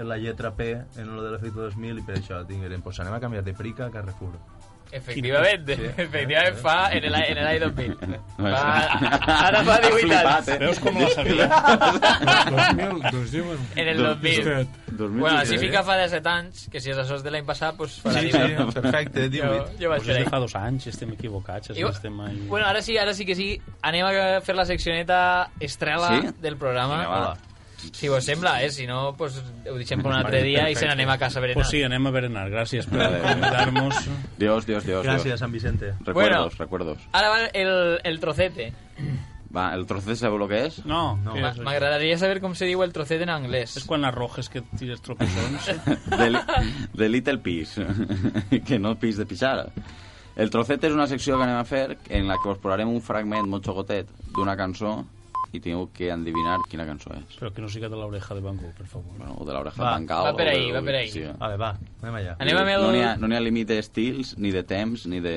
H: la lletra P en lo de l'efecte 2000 i per això tinguerem, doncs anem a canviar de Prica a Carrefour.
E: Efectivamente, (laughs)
H: Sí.
E: efectivamente fa ah, en el, en el Ah, año 2000.
F: (laughs) Bueno.
E: Fa- ara fa
F: Ha
E: 18
F: flipat,
E: anys.
F: eh?
G: Veus com la sabia?
I: 2000, doncs diuen...
E: En el 2000.
I: 2000.
E: Bueno, si
F: 2017.
E: fica fa 17 anys, que si és això de l'any passat, doncs farà
H: Sí,
E: 18.
H: sí, perfecte,
E: Jo,
H: 18.
E: jo vaig
G: Pues és
E: fer
G: de
E: ahí.
G: fa dos anys, estem equivocats,
E: I-
G: estem ahí...
E: Bueno, ara sí, ara sí que sí. Anem a fer la seccioneta estrela
F: Sí?
E: del programa.
F: Vinga, va.
E: Si vos sembla, eh? Si no, pues, ho deixem per un altre dia i se n'anem a casa a berenar.
G: Pues sí, anem a berenar. Gràcies per
F: Vale.
G: convidar-nos.
F: Dios, Dios, Dios.
H: Gràcies,
F: Dios.
H: Sant Vicente.
F: Recuerdos,
E: Bueno.
F: recuerdos.
E: Ara va el, el trocete.
F: Va, el trocet sabeu lo que
E: (laughs)
F: és?
G: No,
H: No.
G: que
E: Ma-
G: és,
E: M'agradaria saber com se diu el trocete en anglès. (laughs)
G: és quan arrojes que tires tropezons.
F: de, li- de Little Pis, (laughs) que no pis de pixar. El trocet és una secció que anem a fer en la que us posarem un fragment molt xocotet d'una cançó i teniu que endevinar quina cançó és.
G: Però que no siga de l'oreja de Van Gogh, per favor.
F: Bueno, o de l'oreja
H: Va,
F: tancada.
E: va
F: o
E: per
F: de-
E: ahí, va
F: o
E: per
F: de-
E: ahí.
F: sí, va.
H: Vale, va, anem allà.
E: Anem amb el...
F: No n'hi ha, no n'hi ha límit d'estils, ni de temps, ni de...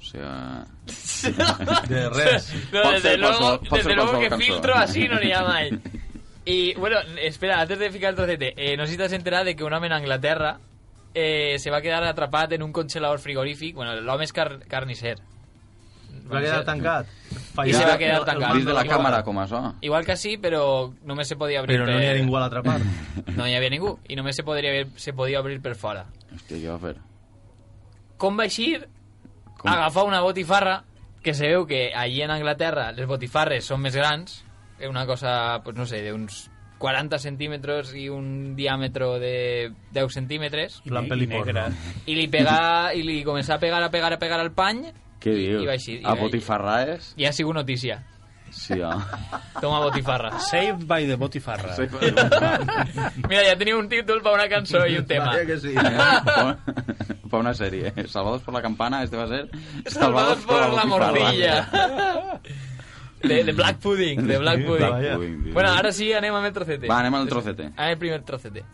F: O sea...
H: De res.
E: No,
F: Pot
E: desde
F: ser
E: luego,
F: qualsevol- pot
E: desde
F: ser
E: luego que
F: qualsevol cançó.
E: filtro así no le llama él. Y bueno, espera, antes de fijar el trocete, eh, no sé si te has enterado de que un hombre en Anglaterra eh, se va a quedar atrapado en un congelador frigorífico. Bueno, el hombre es car carnicer.
H: Va quedar tancat.
E: I se
H: Fallat.
E: va quedar tancat.
F: Dins de la
E: Igual.
F: càmera, com això.
E: Igual que sí, pero no me se podía abrir.
H: Però no
E: per-
H: n'hi ha ningú a l'altra part.
F: Mm.
E: No hi havia ningú. I només se, podria haver, se podia abrir per fora.
F: Hòstia, què va fer?
E: Com va eixir?
F: Com?
E: Agafar una botifarra, que se veu que allí en Anglaterra les botifarres són més grans, que una cosa, pues no sé, d'uns 40 centímetres i un diàmetre de 10 centímetres,
G: I
H: Plan
G: ne- i
H: pel·li porno.
G: negra.
E: i li pegà, i li començà a pegar, a pegar, a pegar al pany,
F: Què
E: i,
F: dius?
E: i va eixir. I,
F: a
E: va-
F: botifarraes?
E: I ha sigut notícia.
F: Sí, home.
E: (laughs) Toma botifarra.
G: Saved by the Botifarra. Sí.
E: Mira, ja teniu un títol per una cançó i un tema.
H: Vaya que sí.
F: Fa una sèrie. eh? Salvados por la campana, este va a ser...
E: Salvados por la
F: botifarra.
E: morcilla. De, de Black Pudding, de Black Pudding.
H: Black
F: Pudding, tio.
E: Bueno, ahora sí, anem amb el trocete.
F: Va, anem al trocete.
E: A ver, el primer trocete.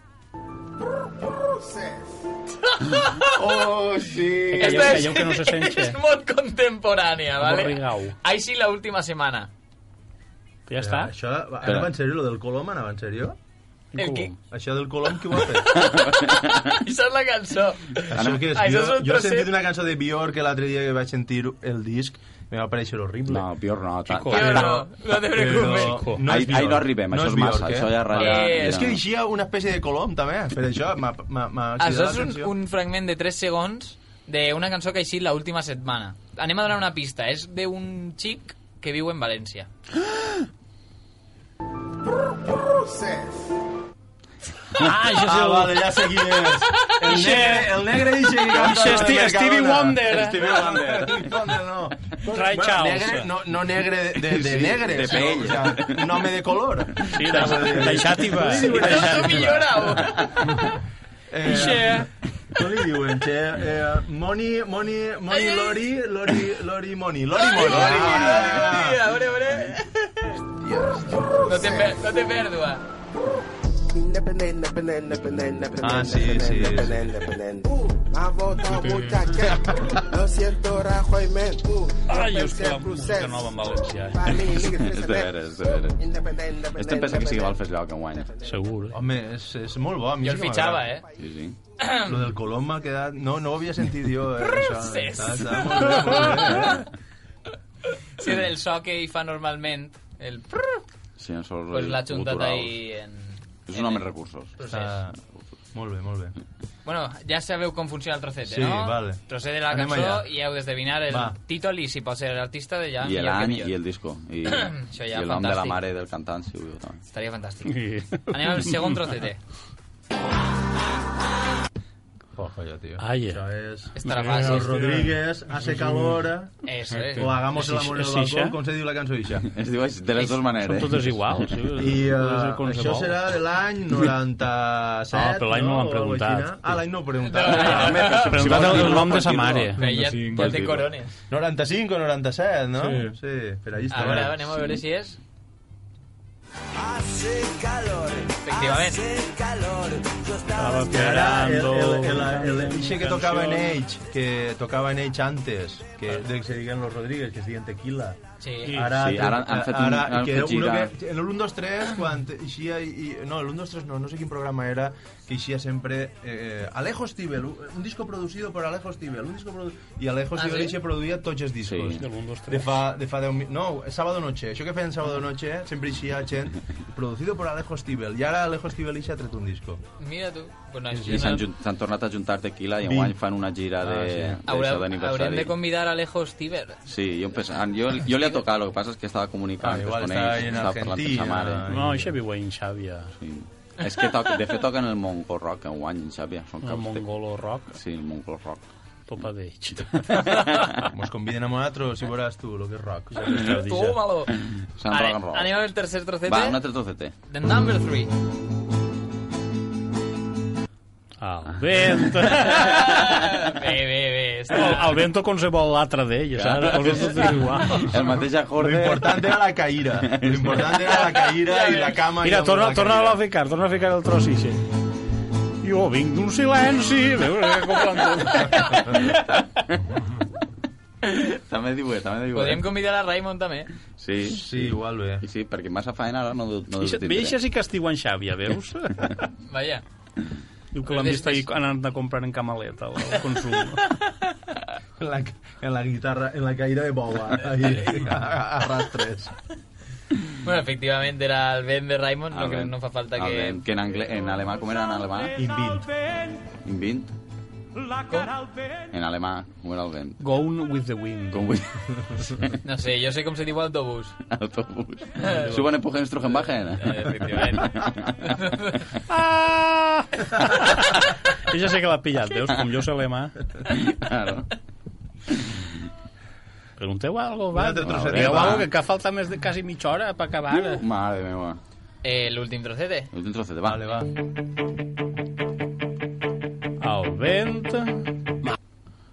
F: Oh, sí!
G: Calleu,
E: Esta (laughs)
G: calleu, que no se sente.
E: Es mod contemporánea, ¿vale?
G: Borrigau.
E: Ahí sí la última semana.
G: Ja està?
H: Això, anava en sèrio, lo del colom anava en sèrio?
E: El (laughs)
G: Cubo.
E: qui-
H: Això del colom, qui ho
F: (laughs)
H: ha fet?
E: Esa es la canción.
H: Això què és?
E: Això és
H: Jo,
E: un
H: jo he
E: trosset.
H: sentit una cançó de Björk que l'altre dia que vaig sentir el disc em va parèixer horrible.
F: No, Pior no. ta-
G: Chico.
F: ta-
E: Tío, no, no te preocupes.
H: Però
F: Ahí-
H: és
F: ahí
H: Björk.
F: no arribem, això és massa, això ja ratlla-
E: Eh,
H: és
E: no.
H: que eixia una espècie de colom, també. Per això m'ha m'ha- m'ha
E: Ah, Això
H: cridat
E: és un,
H: l'atenció.
E: un fragment de 3 segons d'una cançó que ha eixit l'última setmana. Anem a donar una pista. És d'un xic que viu en València.
G: Ah, això és
H: Ah,
G: el...
H: vale, ja sé qui és. El negre, el negre ixe que canta
G: Ixe
H: al
G: Sti-
H: Mercadona.
G: Stevie Wonder.
F: Stevie Wonder.
H: Wonder, no.
G: Ray Charles.
H: negre, no, no negre de, de, de
F: Sí,
H: negre,
F: de
H: sinó,
F: pell.
H: O sea, un home de color. eh,
G: Sí, deix- deixat i va.
H: Sí,
E: No, no millorau.
H: Eh, Com li diuen? Che, eh, Moni, Moni, Moni, Lori, Lori, Lori, Moni. Lori, Moni. Lori, Moni.
E: Mira, ore, ore. No te, per- no te perdua.
H: Ah, sí, sí.
K: Ha votado muchacha.
I: (laughs)
K: Lo siento, Rajoy, men. Uh,
G: Ai, us que la música nova eh? en valencià.
K: pa' mí,
F: És de veres, és de veres.
K: Independent,
F: Este em pensa que sí que val fer lloc enguany.
G: Segur. eh?
H: Home, és, és molt bo. A mi
E: Jo
H: sí
E: el
H: que
E: fitxava,
H: m'agrada.
E: eh?
F: Sí, sí.
H: Lo del Colom m'ha quedat... No, no ho havia sentit jo. Eh, això.
E: Procés.
H: Està, està molt bé, molt bé. eh?
E: Sí, del so que hi fa normalment, el prrr,
F: Sí, en sols
E: pues l'ha juntat
F: guturals.
E: ahí en...
F: És un home amb recursos.
E: Procés.
H: Està... Molt bé, molt bé.
E: Bueno, ja sabeu com funciona el trocete,
H: Sí,
E: no?
H: vale.
E: Trocet de la
H: Anem
E: cançó
H: allà.
E: i heu d'esdevinar el
H: Va.
E: títol i si pot ser l'artista de ja
F: I
E: millor que
F: l'any
E: millor.
F: i el
E: (clears throat)
F: disco. I,
E: Això
F: i
E: ja,
F: el nom de la
E: fantàstic.
F: mare del cantant, si ho diu també.
E: Estaria fantàstic. Anem al segon trocete.
H: Poca jo, tio.
G: Ai, eh.
H: Això és...
E: Estarà
H: El
E: fàcil.
H: Rodríguez, hace calor,
E: Eso, eh?
H: o hagamos el
G: És-
H: amor en el
G: és
H: balcón,
G: ixa?
H: com se diu la cançó
G: (laughs)
H: ixa.
F: Es diu així, de les dues
G: Són
F: maneres.
G: totes iguals. Sí?
H: I
G: Totes el
H: uh,
G: com se
H: això
G: vol.
H: serà de l'any
G: (laughs)
H: 97,
G: Ah, però l'any no
H: no O algo
G: l'han preguntat.
H: així, no? Ah, l'any no ho
E: (laughs)
H: preguntat.
G: Preguntat el, el nom de sa
F: Continua.
G: mare.
E: Però ja, ja té corones.
H: 95 o 97, no?
I: Sí.
H: Sí, per allà
E: A
H: està.
E: veure, anem a veure si és...
K: I
A: Hace calor.
E: Efectivamente.
A: Hace calor. Yo estaba
G: Estaba
H: Era el,
G: esperando...
H: el, el, el, el ixe que
G: canción.
H: tocaba en Age, que tocava en Age antes, que, de que se diguen los Rodríguez, que es diguen Tequila.
E: Sí.
H: Ara,
F: Sí, ara han fet un-
H: ara,
F: han
H: que
F: fet
H: uno
F: girar.
H: que, en l'1, 2, 3, quan eixia... I, i- no, l'1, 2, 3 no, no sé quin programa era, que eixia sempre... Eh, Alejo Stivel, un disco producido por Alejo Stivel, un disco produ... I Alejo
E: Ah,
H: Stivel
E: sí?
H: eixe produïa tots els discos.
F: Sí.
G: Del un, dos, tres.
H: De fa, de fa 10 mi- No, Sábado Noche. Això que feien Sábado Noche, eh, sempre eixia gent producido por Alejo Stivel. I ara Alejo Stivel eixe ha tret un disco.
E: Mira tu. Pues no,
F: I s'han jun- s'han tornat a juntar tequila i enguany fan una gira de,
H: Ah,
F: de,
E: Haurem, haurem
F: d'aniversari.
E: de convidar a Alejo Stiver.
F: Sí, jo, em pensava, jo, jo li ha tocat, lo que passa és que estava
H: Ah,
F: comunicant
H: igual
F: antes
H: estava
F: con ells,
H: en
F: estava parlant amb sa mare.
H: Argentina.
G: No, això viu a Inxàvia.
F: Sí. És que toca, de fet toquen el Mongol Rock enguany, Xàbia. Són
G: El
F: caps de...
G: mongolo rock,
F: Sí, el Mongol Rock.
G: topa d'eix.
H: Mos conviden a nosaltres i veuràs tu lo que és rock.
E: Tómalo.
H: Mm.
F: Sant
E: Vale,
F: Rock and Roll.
E: anem al tercer trocete.
F: Va, un altre
H: (laughs)
F: trocete.
E: The number
F: (laughs)
E: three.
G: El vento.
E: Bé, bé, bé. Està...
G: El, el vento com se vol l'altre d'ell, saps? El vento és igual. (laughs)
F: El mateix
H: Lo
F: acorde...
H: important era la caïra. Lo important era la caïra i la cama. i
G: Mira,
H: la
G: torna,
H: la
G: torna a
H: caïra.
G: ficar, torna a ficar el tros ixe. Jo vinc d'un silenci. Veus, eh, com (laughs) planto.
F: També diu bé, també diu
E: Podríem
F: bé.
E: convidar a Raymond també.
F: Sí,
H: Sí, igual bé.
F: I sí, perquè massa faena ara no, du- no deu
G: Ixa-
F: tindre.
G: Mira, això sí que estiu en Xàvia, (laughs) veus?
E: Vaja.
G: Diu que l'han vist ahir anant a comprar en camaleta al consum.
H: En la, en la guitarra, en la caïra de boba. Ahí, a, a, a rastres.
E: Bueno, efectivament era el vent de Raymond, no,
F: El
E: que
F: vent.
E: no fa falta
F: El
E: que...
F: vent, Que en, angle, en alemà, com era en alemà?
H: Invint.
F: Invint? En alemà, com era el vent?
G: (laughs) Gone with the wind.
F: Com vull... (laughs)
E: No sé, jo sé com se diu autobús.
H: Eh,
F: Autobús. Suban empujen, estrujen, bajen.
E: Efectivament.
G: (laughs) Ah! I ja sé que l'ha pillat, veus? Com jo sé alemà.
F: (laughs) Claro.
G: Pregunteu algo,
H: Un
G: va.
H: altre trosset.
G: Digueu
F: Va.
G: algo que, que falta més de quasi mitja hora per acabar. ara.
F: Mare meva.
E: Eh, L'últim trocete.
F: Últim trocete, va.
H: Vale, va.
G: El vent...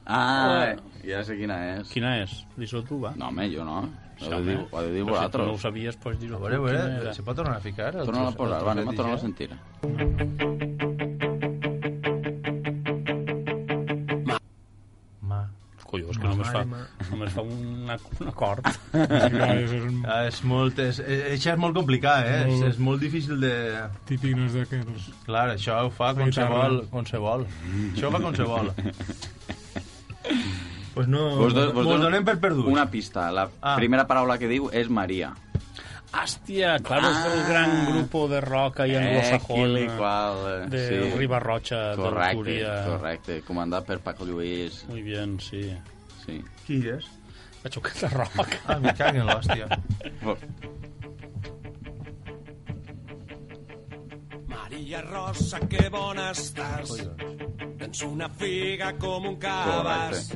F: Ah, ja sé quina és.
G: Quina és? Dis-ho tu, va.
F: No, home, jo no.
G: Sí,
F: Ho heu de
G: home.
F: dir, ho heu de dir
G: Però Si tu no ho
F: vosaltres.
G: sabies, pots dir-ho.
H: A
G: tu,
H: veure, a
G: quina
H: veure,
G: era.
H: se pot tornar a ficar? el
F: Torna-la a
H: tros-
F: posar,
H: el
F: va, anem a
H: trosset
F: tornar-la a
H: ixe?
F: sentir.
H: Ma.
G: Colló, és que només fa, només fa un, un (laughs) acord.
I: Clar, és un
H: Ah, és molt... És, és, això és molt complicat, eh? És, és molt difícil de...
I: típic, no és d'aquells...
H: Clar, això ho fa
I: La guitarra.
H: qualsevol, qualsevol. Això ho fa qualsevol. pues no,
F: Vos
H: vos,
F: do- vos dono
H: donem per perduts.
F: Una pista. La
H: Ah.
F: primera paraula que diu és Maria.
G: Hòstia, clar, és el gran grupo de roca i
F: Ah. Eh,
G: anglosajona
F: qual,
G: de Ribarrotxa,
F: Correcte,
G: d'Alcúria.
F: correcte. Comandat per Paco Lluís.
G: Muy bien, sí.
F: Sí.
H: Qui és?
G: Ha xocat de roca.
H: Ah, me caguen l'hòstia.
A: Maria Rosa, que bona estàs. Tens una figa com un cabàs.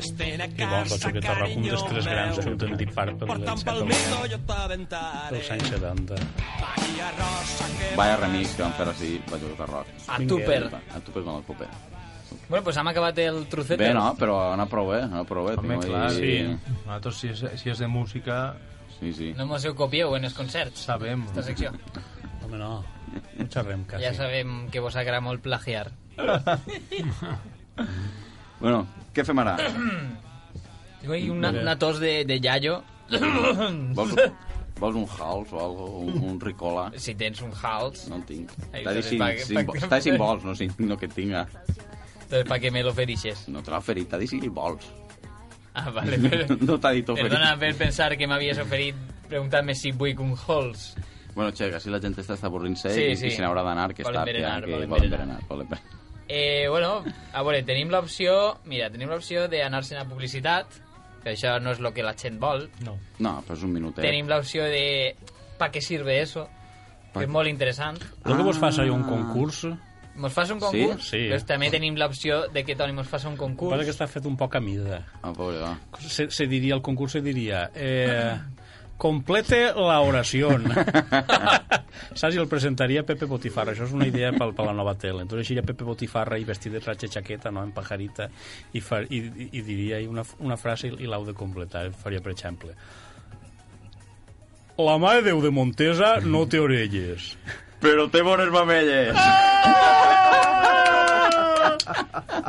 A: Estén a
G: (laughs) Que bo, la
A: casa,
G: xoqueta roca, un dels tres grans, és un
A: carinyo meu.
G: autèntic part per
A: Porta'm
G: l'encet
A: pel
G: del
A: mito, jo t'aventaré.
G: dels anys 70.
A: Maria Rosa, que
F: Vaya remix que van fer així, vaig a rock.
E: A
G: Vinga.
E: Tupper.
F: A tu per con el popper.
E: Bueno, pues hem acabat el trocete.
F: Bé, no, però ha anat prou bé, ha anat prou bé.
H: Home,
F: Tinc
H: clar, sí.
F: ahí-
H: Nosaltres, si és, si és de música,
F: Sí, sí.
E: No mos ho copieu en els concerts,
H: sabem.
E: esta secció.
G: Home, no. No xerrem, quasi.
E: Ja sabem que vos agrada molt plagiar.
F: Bueno, què fem
E: (coughs)
F: ara?
E: Tinc ahí una, una tos de, de yayo. (coughs)
F: Vols, vols un house o algo, un, un ricola?
E: Si tens un hals,
F: No en tinc.
E: Ai,
F: Està de
E: sorry,
F: cinc,
E: pa-
F: cinc,
E: pa-
F: vo- està de cinc vols, no, cinc, no que tinga.
E: entonces pa que me lo ferixes.
F: No te l'ha oferit, t'ha dit cinc vols.
E: (laughs) Ah, vale, (laughs) però...
F: No t'ha dit oferit.
E: Perdona per pensar que m'havies oferit preguntar-me si vull un halls.
F: Bueno, xeca, si la gent està avorrint-se
E: Sí,
F: i,
E: sí.
F: i se n'haurà d'anar, que
E: Volen
F: està
E: berenar,
F: ja, que
E: volen
F: volen
E: berenar.
F: berenar. Volen berenar.
E: Eh, bueno, a veure, tenim l'opció... Mira, tenim l'opció d'anar-se'n a publicitat, que això no és el que la gent vol.
H: No.
F: No, però és un minutet.
E: Tenim l'opció de... Pa què sirve eso?
F: Pa
E: Que és
F: què?
E: molt interessant.
G: Tu que vos fas ahí
F: Ah.
G: un concurs?
E: Mos fas un concurs?
G: Sí? Sí.
E: Doncs també tenim l'opció de que Toni mos fas un concurs.
G: Pare que està fet un poc a mida.
F: Ah, pobre, va.
G: Se, se diria, el concurs se diria... Eh, complete la oración. Saps? I el presentaria Pepe Botifarra. Això és una idea pel, per la nova tele. Entonces eixiria Pepe Botifarra i vestit de ratxa i jaqueta, no? en pajarita, i, far, i, i, i diria ahí una, una frase i l'heu de completar. Faria, per exemple, La Mare de Déu de Montesa no té
F: (laughs)
G: orelles.
F: Però té bones mamelles. (laughs)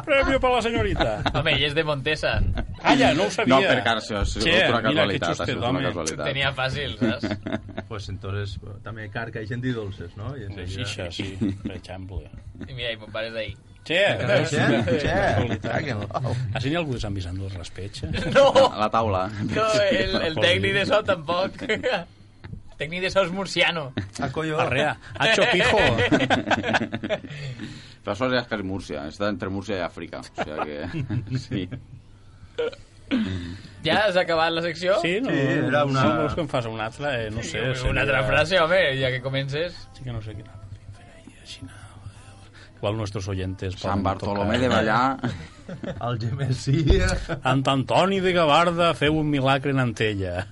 G: Premio per la senyorita.
E: Home, i és de Montesa.
G: Ah, ja, no ho sabia.
F: No, per cas, això ha sigut
G: Che,
F: una
G: mira que
F: casualitat, ha
G: xustet,
F: sigut una
G: home.
F: casualitat.
E: Tenia fàcil, saps?
H: Pues entonces eh, també carca i gent i dolces, no? I
G: De
H: enseguida-
G: xixa, sí, per exemple.
E: I mira, i mon pare és d'ahir.
G: Che, veus?
H: Che,
G: Eh,
H: che.
G: casualitat.
H: Ah, que bo.
G: Així n'hi ha algú de Sant Vicent del Raspeig? eh?
E: No!
F: A la taula.
E: No, el, el tècnic de so tampoc. (laughs) tècnic de so és murciano.
H: Ah, collo.
G: Arrea, Hacho Pijo.
F: (laughs) Però això ja és que és Múrcia, està entre Múrcia i Àfrica. O sigui que... Sí.
E: Ja has acabat la secció?
G: Sí, no,
H: Sí, era una-
G: no vols que em fas una altra? Eh, no sé.
E: Una altra
G: seria-
E: frase, home, ja que comences.
G: Sí que no sé quina podríem fer ahí, així, no. Igual nuestros oyentes... poden
F: Sant Bartolomé
G: tocar.
F: de Ballar.
H: El gemessia.
G: Sant Antoni de Gavarda feu un milagre en Antella.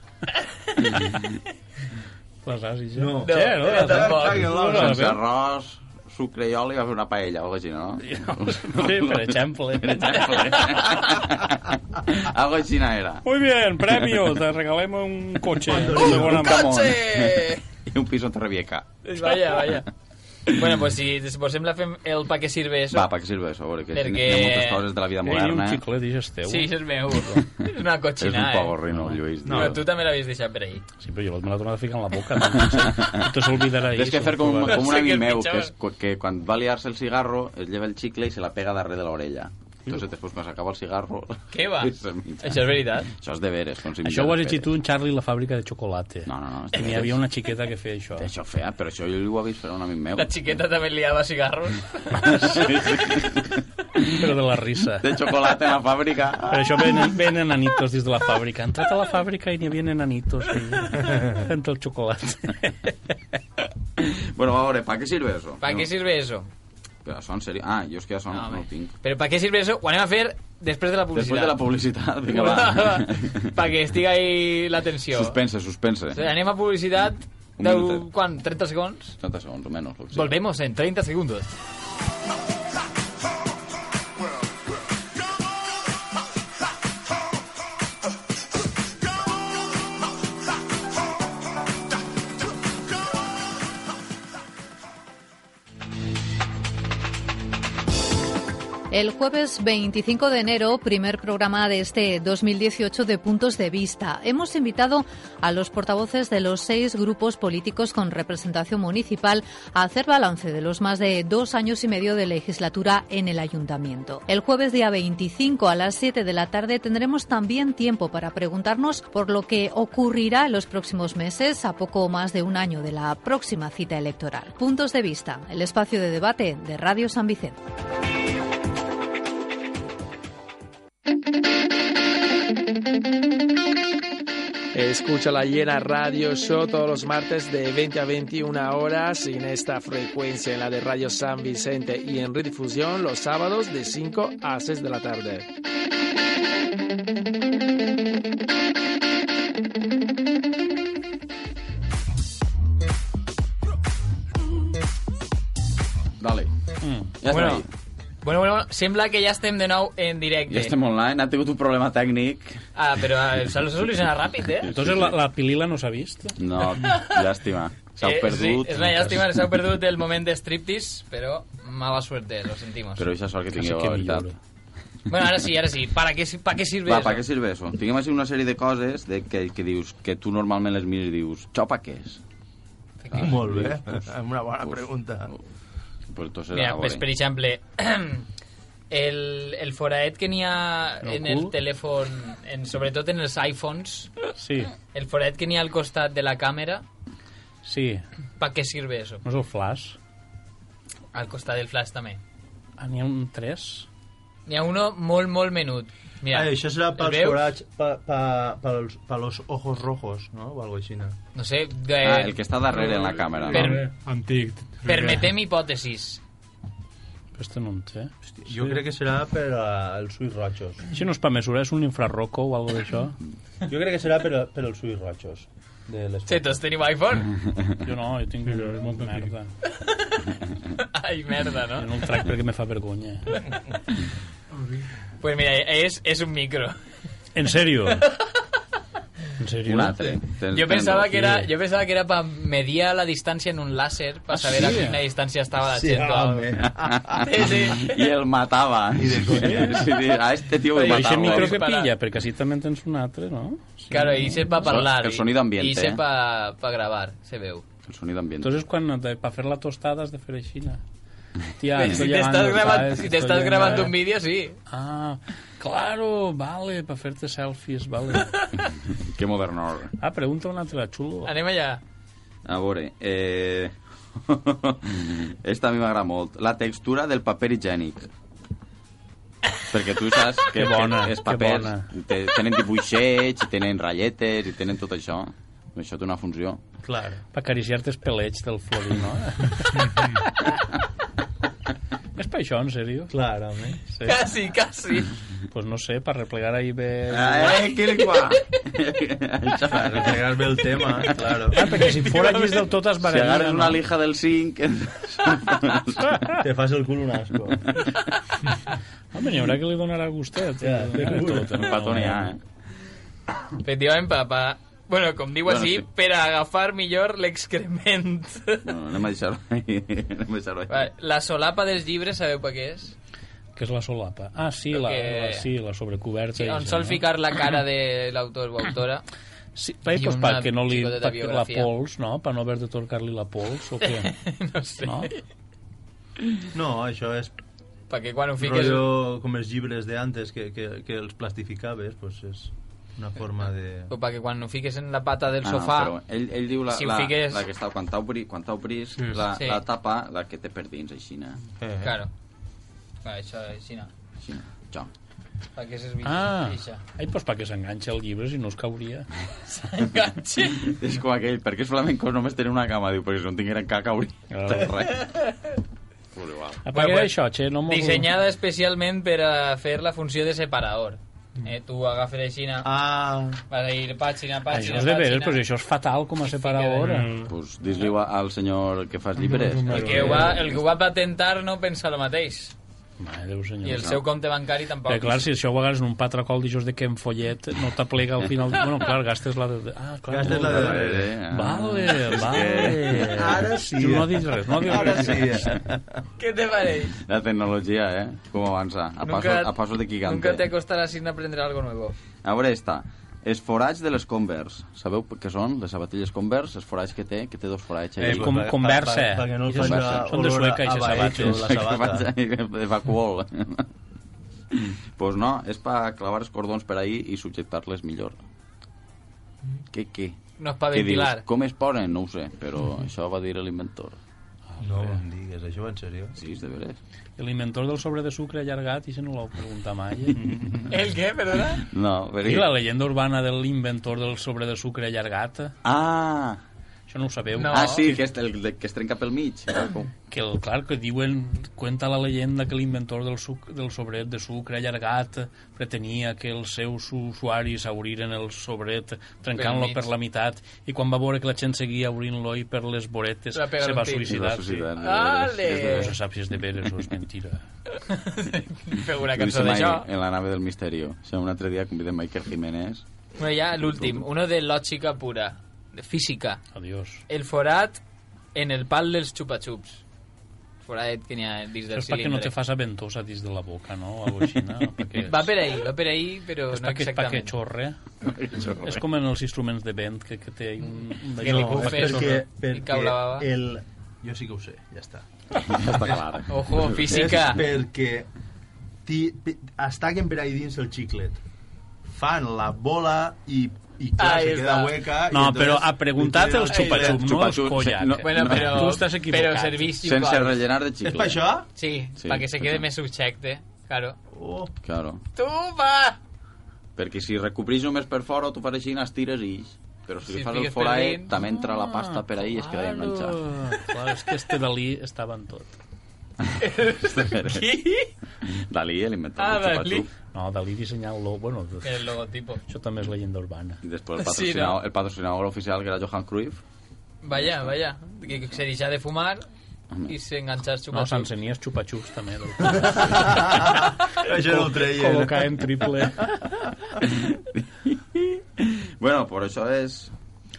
G: Les has, això?
H: No.
G: Che, no,
E: No,
G: les has?
E: tampoc.
G: No, no, les
F: Sense
G: has?
F: arròs, sucre i oli va fer una paella, o així, no?
G: Sí, per exemple.
F: Per exemple. Algo així no era.
G: Muy bien, premio, te regalemos un coche. de segona
F: un
G: mà.
F: camón.
E: cotxe!
F: I un piso en Torrevieca.
E: (laughs) Vaya, vaya. Bueno, pues si vos sembla fem el pa que sirve eso.
F: Va, per què sirve això? A veure, que
E: Perquè-
F: hi ha moltes coses de la vida
G: Ei, ni un
F: moderna. eh?
G: xiclet, i és teu.
E: Sí, això és meu.
F: (laughs)
E: és una
F: És un
E: cotxina, eh?
F: pogorrino, Lluís.
E: No,
F: tio.
E: tu també l'havies deixat per ahir.
G: Sí, però jo me la tornaré a ficar en la boca. No, te
E: Ah,
G: s'olvidarà.
F: Tens que fer com,
E: No
F: com un
E: sé què
F: amic
E: és
F: meu,
E: pitjor.
F: que, és, cu- que quan va liar-se el cigarro, es lleva el xicle i se la pega darrere de l'orella. Entonces, després, quan s'acaba el cigarro...
E: (laughs) Què va?
F: (laughs) i se'l menja.
E: Això és
F: (laughs)
E: veritat.
F: Això és de veres. Com si
G: Això
F: menjar
G: ho has
F: de
G: llegit tu
F: veres.
G: en Charlie i la fàbrica de xocolata.
F: No, no, no. és de
G: I n'hi
F: veres.
G: havia una xiqueta que feia això.
F: Això fea, però això jo ho he vist fer a un amic meu.
E: La xiqueta també liava cigarros.
G: Però de la risa.
F: De xocolata en la fàbrica.
E: (laughs)
G: Per això venen, venen enanitos des de la fàbrica. Han entrat a la fàbrica i n'hi havia enanitos i... entre el xocolata.
F: Bueno, a veure, pa què sirve això?
E: Pa què sirve eso?
F: Però això en sèrio... Ah, jo és que ja això no, no
E: home.
F: ho tinc.
E: Però pa què sirve eso? Ho anem a fer després de la
F: Després
E: publicitat.
F: de la publicitat, vinga,
E: (laughs)
F: va. (laughs)
E: pa que estiga ahí la tensió.
F: Suspense, suspense.
E: Anem a publicitat
F: Un
E: de...
F: minutet.
E: Quan? 30 segons?
F: 30 segons o menys. lo que sigui.
E: Volvemos en 30 segundos.
L: El jueves 25 de enero, primer programa de este 2018 de Puntos de Vista, hemos invitado a los portavoces de los seis grupos políticos con representación municipal a hacer balance de los más de dos años y medio de legislatura en el ayuntamiento. El jueves día 25 a las 7 de la tarde tendremos también tiempo para preguntarnos por lo que ocurrirá en los próximos meses a poco más de un año de la próxima cita electoral. Puntos de Vista, el espacio de debate de Radio San Vicente.
M: Escucha la llena Radio Show todos los martes de 20 a 21 horas en esta frecuencia, en la de Radio San Vicente y en redifusión los sábados de 5 a 6 de la tarde.
F: Dale.
G: Mm.
F: Ja
E: Bueno.
F: bueno. estem ahí.
E: Bueno, bueno, sembla que ja estem de nou en directe.
F: Ja estem online, ha tingut un problema tècnic.
E: Ah, però eh, s'ha de solucionar ràpid, eh?
G: Entonces la, la pilila no s'ha vist?
F: No, llàstima. S'ha
E: Eh,
F: perdut.
E: Sí, és una llàstima, s'ha perdut el moment de striptease, però mala suerte, lo sentimos.
F: Però això sort que tingueu,
G: Quasi que
F: la veritat.
G: milloro.
E: Bueno, ara sí, ara sí. Para què, para què sirve
F: Va,
E: eso?
F: per què serveix això? Tinguem així una sèrie de coses de que, que dius que tu normalment les mires i dius, això pa què és?
H: Molt bé. Una bona pregunta.
F: Però tot serà eh.
E: Mira, pues, per exemple, (clears throat) el, el foraet que n'hi ha
G: El
E: en
G: cul?
E: el telèfon, en, sobretot en els iPhones,
G: Sí,
E: el foraet que n'hi ha al costat de la càmera,
G: sí.
E: pa què sirve eso?
G: No és el flash?
E: Al costat del flash també.
G: Ah, n'hi ha un 3?
E: N'hi ha uno molt, molt menut. Mira,
H: Ah, això serà
E: el
H: pels
E: veus?
H: forats, pa, pa, pels, pels ojos rojos, no? O algo així. no?
E: No sé, de,
F: Ah, el que està darrere en la càmera,
E: Per-
F: no?
I: Antic.
E: permetem hipòtesis.
G: Però este no en té.
H: Jo crec que serà per als ulls rojos.
G: Això no és per mesura, és un infrarroco o alguna d'això?
H: Jo crec que serà per, per als ulls rojos. De les
E: Sí, tots tenim
F: (laughs)
E: iPhone?
G: Jo no, jo tinc
I: Sí, però és molt
G: merda.
E: Ai, merda,
G: Jo
E: no?
G: no el trec perquè me fa vergonya.
E: Pues mira, és, és un micro.
G: En sèrio? ¿En serio?
F: Un atre.
E: Yo pensaba que era, yo pensaba que era para medir la distancia en un láser, para
F: Ah,
E: saber a
F: sí?
E: quina distància estava la
F: Sí,
E: gent. o algo.
F: home.
E: Sí, sí.
F: (laughs) I el matava. I de conya. Sí, sí, a este tio el
G: I
F: matava.
G: aquest micro que pilla, perquè així també en tens un altre, no? Sí.
E: Claro, i se para parlar.
F: El sonido ambiente,
E: I se
F: eh?
E: para grabar, se veu.
F: El sonido ambiente.
G: Entonces, quan, de, para fer la tostada has de fer així. no? Tia,
E: Si
G: Ah, estoy
E: te
G: llegando,
E: estás grabando-
G: ¿sabes?
E: si te
G: Estoy
E: estás grabando
G: llegando.
E: un vídeo, sí.
G: Ah, claro, vale, para hacerte selfies, vale.
F: Que modernor.
G: Ah, pregunta una altra, xulo.
E: Anem allà.
F: A veure, eh... (laughs) Esta a mi m'agrada molt. La textura del paper higiènic. Perquè tu saps que,
G: Que bona,
F: que els
G: que
F: papers
G: bona.
F: te- tenen dibuixets, i tenen ratlletes, i tenen tot això. Això té una funció.
G: Claro. Para acariciar-te els pelets del florí,
N: (laughs)
G: no? És per això, en sèrio? Claro, home. Sí.
E: Casi, casi.
G: Pues no sé, para replegar ahí bé...
F: Ah, eh, que li qua.
G: Para
H: replegar bé el (laughs) tema, claro.
G: Ah, perquè si fora llis del tot es
F: Si
G: barallia,
F: agarres una lija del zinc...
N: Te fas el cul un asco.
G: (laughs) Home, n'hi haurà que li donarà gustet.
N: Ja, de cul.
F: Patonear, eh?
E: Efectivament, papà. Bueno, com diu
F: Bueno,
E: així,
F: sí.
E: per a agafar millor l'excrement.
F: No, anem a deixar-ho ahí. (laughs) Anem a deixar-ho ahí.
E: Va, La solapa dels llibres, sabeu per què és?
G: Que és la solapa. Ah, sí,
E: Creo
G: la,
E: que-
G: la, sí, la sobrecoberta.
E: Sí,
G: i
E: on
G: això,
E: sol
G: no?
E: ficar la cara de l'autor o autora.
G: Sí, Pai,
E: I
G: pues,
E: una
G: perquè no li...
E: xicoteta
G: Perquè la
E: biografia.
G: pols, no? Per no haver de torcar-li la pols, o què?
E: (laughs) no sé.
G: No?
H: No, això és...
E: Perquè quan ho fiques-
H: Rollo, com els llibres d'antes que, que, que els plastificaves, pues és una forma de...
E: O perquè quan ho fiques en la pata del
F: Ah, no,
E: sofà...
F: però ell, ell diu la,
E: si ho
F: la,
E: fiques...
F: la que està, quan t'obris, quan t'obris
E: Sí.
F: la,
E: Sí.
F: la tapa, la que té per dins, així, eh. no?
E: Eh, Claro. Va, això, així no.
F: Així, no. Jo.
E: Perquè és bicha.
G: Ah,
E: bicha.
G: ai, pues perquè s'enganxa el llibre si no es cauria.
E: S'enganxa?
F: (laughs) És com aquell, perquè els flamencos només tenen una cama, diu, perquè si no en tingueren caca, hauria de res. Però igual.
G: Ah, perquè era això, Che, no m'ho...
E: Dissenyada especialment per a fer la funció de separador. Eh, tu agafes aixina,
H: ah.
E: vas a ir pàgina,
G: Això
E: pàgina,
G: és de veres,
E: pàgina.
G: però si això és fatal com a separador.
F: Pues dis-li a- al senyor que fas llibres.
E: El que, ho va, el que ho va patentar no pensa el mateix.
G: Mare Déu, senyor.
E: I el seu compte bancari tampoc.
G: Perquè, clar, si això ho agarres en un patracol dijous de Ken Follet, no t'aplega al
E: (laughs)
G: final... Bueno, clar, gastes la de... Ah, clar,
H: Gastes la de darrere,
F: eh?
G: Vale,
F: Ah, és
G: vale.
F: que- Ara sí.
G: Tu no diguis res, no diguis
F: Ara
G: res. Eh,
F: sí.
E: Què te pareix?
F: La tecnologia, eh? Com avança. A pasos, a pasos de gigante.
E: Nunca te costará sin aprender algo nuevo.
F: A veure esta. Els forats de les Converse. Sabeu què són? Les sabatilles Converse, els forats que té, que té dos forats.
G: Eh, com-
F: Converse.
G: Converse. Pa- pa- pa que no els faci Són de olor sueca, a
F: i
G: ixes vahecho, sabates. la sabata.
F: Evacuol. (laughs) pues no, és per clavar els cordons per ahir i subjectar-les millor. Què, què?
E: No és pa
F: Què dius?
E: ventilar.
F: Com es posen? No ho sé, però això va dir l'inventor.
H: No em digues, això va en sèrio?
F: Sí, és de veres.
G: L'inventor del sobre de sucre allargat, i se no l'ho pregunta mai. eh?
F: Mm.
E: El què, perdona?
F: (laughs) No,
G: I la llegenda urbana de l'inventor del sobre de sucre allargat.
F: Ah!
G: Això no ho sabeu.
F: Ah, sí, que, es, el, de- que es trenca pel mig. Ah,
G: que el, clar, que diuen, cuenta la leyenda que l'inventor del, suc, del sobret de sucre allargat pretenia que els seus usuaris obriren el sobret trencant-lo
E: mig.
G: per la meitat i quan va veure que la gent seguia obrint-lo i per les boretes
E: Va pegar
G: se
E: un
G: va
E: tiro.
G: suïcidar.
F: Es va suïcidar, de
G: sí.
F: veres. Ale!
E: Eh.
G: És de- No se sap si és de veres o és mentira.
E: Feu una
F: Ho
E: cançó
F: dice Mike eh.
E: d'això.
F: En la nave del misterio. O sea, un altre dia convidem Michael Jiménez.
E: Bueno, ya el último. Uno de lógica pura. De física.
G: Adiós.
E: El forat en el pal dels xupa-xups. Foradet que n'hi ha dins del
G: És perquè
E: cilindre.
G: no te fas aventosa dins de la boca, no? O alguna cosa així, no? Perquè
E: Va per ahí, va per ahí, però
G: és
E: no
G: perquè, perquè
E: exactament.
G: xorre.
F: xorre.
G: És com en els instruments de vent, que, que té un... un
E: Que li
G: d'allò,
E: bufes.
G: fa
H: perquè,
G: xorre.
E: I
H: perquè
E: cau la baba.
H: el... Jo sí que ho sé, ja està.
F: està clar. eh?
E: Ojo, física.
H: És perquè ti, pi- es taquen per ahí dins el xiclet. Fan la bola i, i clar,
E: Ahí
H: se queda
E: està.
H: hueca. Ah, i
G: No,
H: entonces-
G: però ha preguntat els xupa-xups, no els
F: Xupa-xups,
G: collac.
F: no, Bueno, eh? no. però-
G: tu estàs equivocat.
E: però servís
F: Sense
E: igual.
F: rellenar de xicle.
H: És per això?
E: Sí,
F: Sí,
E: perquè se quede
F: sí.
E: més subjecte. Claro.
H: Oh.
F: Claro.
E: Tu, (laughs) va!
F: Perquè si recobrís només per fora, tu fas així, estires i... Però si,
E: Si
F: li fas el
E: fiques per
F: foraet,
E: dins.
F: també entra la pasta per ahí i es queda ben menjat.
G: Ah, clar, és que este Dalí estava en tot.
E: (laughs)
F: (laughs)
E: Qui?
F: Dalí, l'inventor
E: Ah,
F: del
E: Dalí.
F: xupa-xup.
G: No, Dalí dissenyant el logo, bueno,
E: Que el logotipo.
G: això també és leyenda urbana.
F: I després el
E: Sí,
F: patrocinador, el patrocinador oficial, que era Johan Cruyff.
E: Vaya, vaya. Que se deixa de fumar i s'enganxa els
G: No,
E: xupa-xups.
G: s'encenies xupa-xups
H: (laughs)
G: també. Del...
H: Això no ho treien.
G: Col·locar en triple.
F: Bueno, por això és